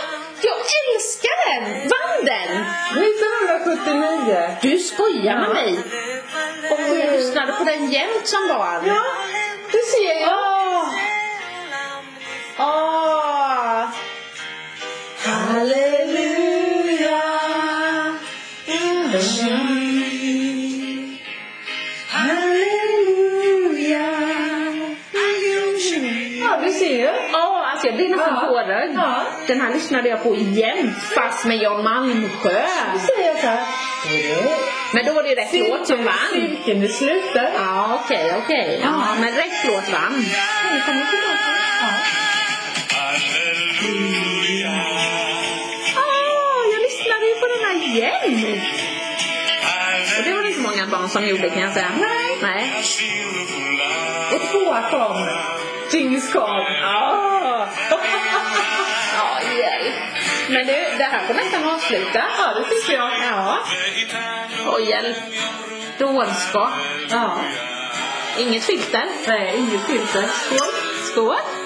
jag älskar den! Vann den! 1979! Du skojar med mig! Och jag lyssnade på den jämt som barn. Ja, det ser jag. Åh! Halleluja! Mm. Ja, du ser. Åh, alltså jag blir nästan Ja. tårögd. Ja. Den här lyssnade jag på igen, fast med Jan Malmsjö. Säger jag så här. Men då var det ju rätt låt som vann. Cirkeln är sluten. Ja, okej, okej. Ja, men rätt låt vann. Halleluja, Åh, jag lyssnade ju på den här igen. Och det var det inte många barn som gjorde kan jag säga. Nej. Nej. halleluja. Och tvåa kom. Dings kom. Åh. (laughs) Ja, yay. Men du, det här får nästan avsluta. Ja, det tycker jag. Ja. Och hjälp. Dårskap. Ja. Inget filter. Nej, inget filter. Skål. Skål.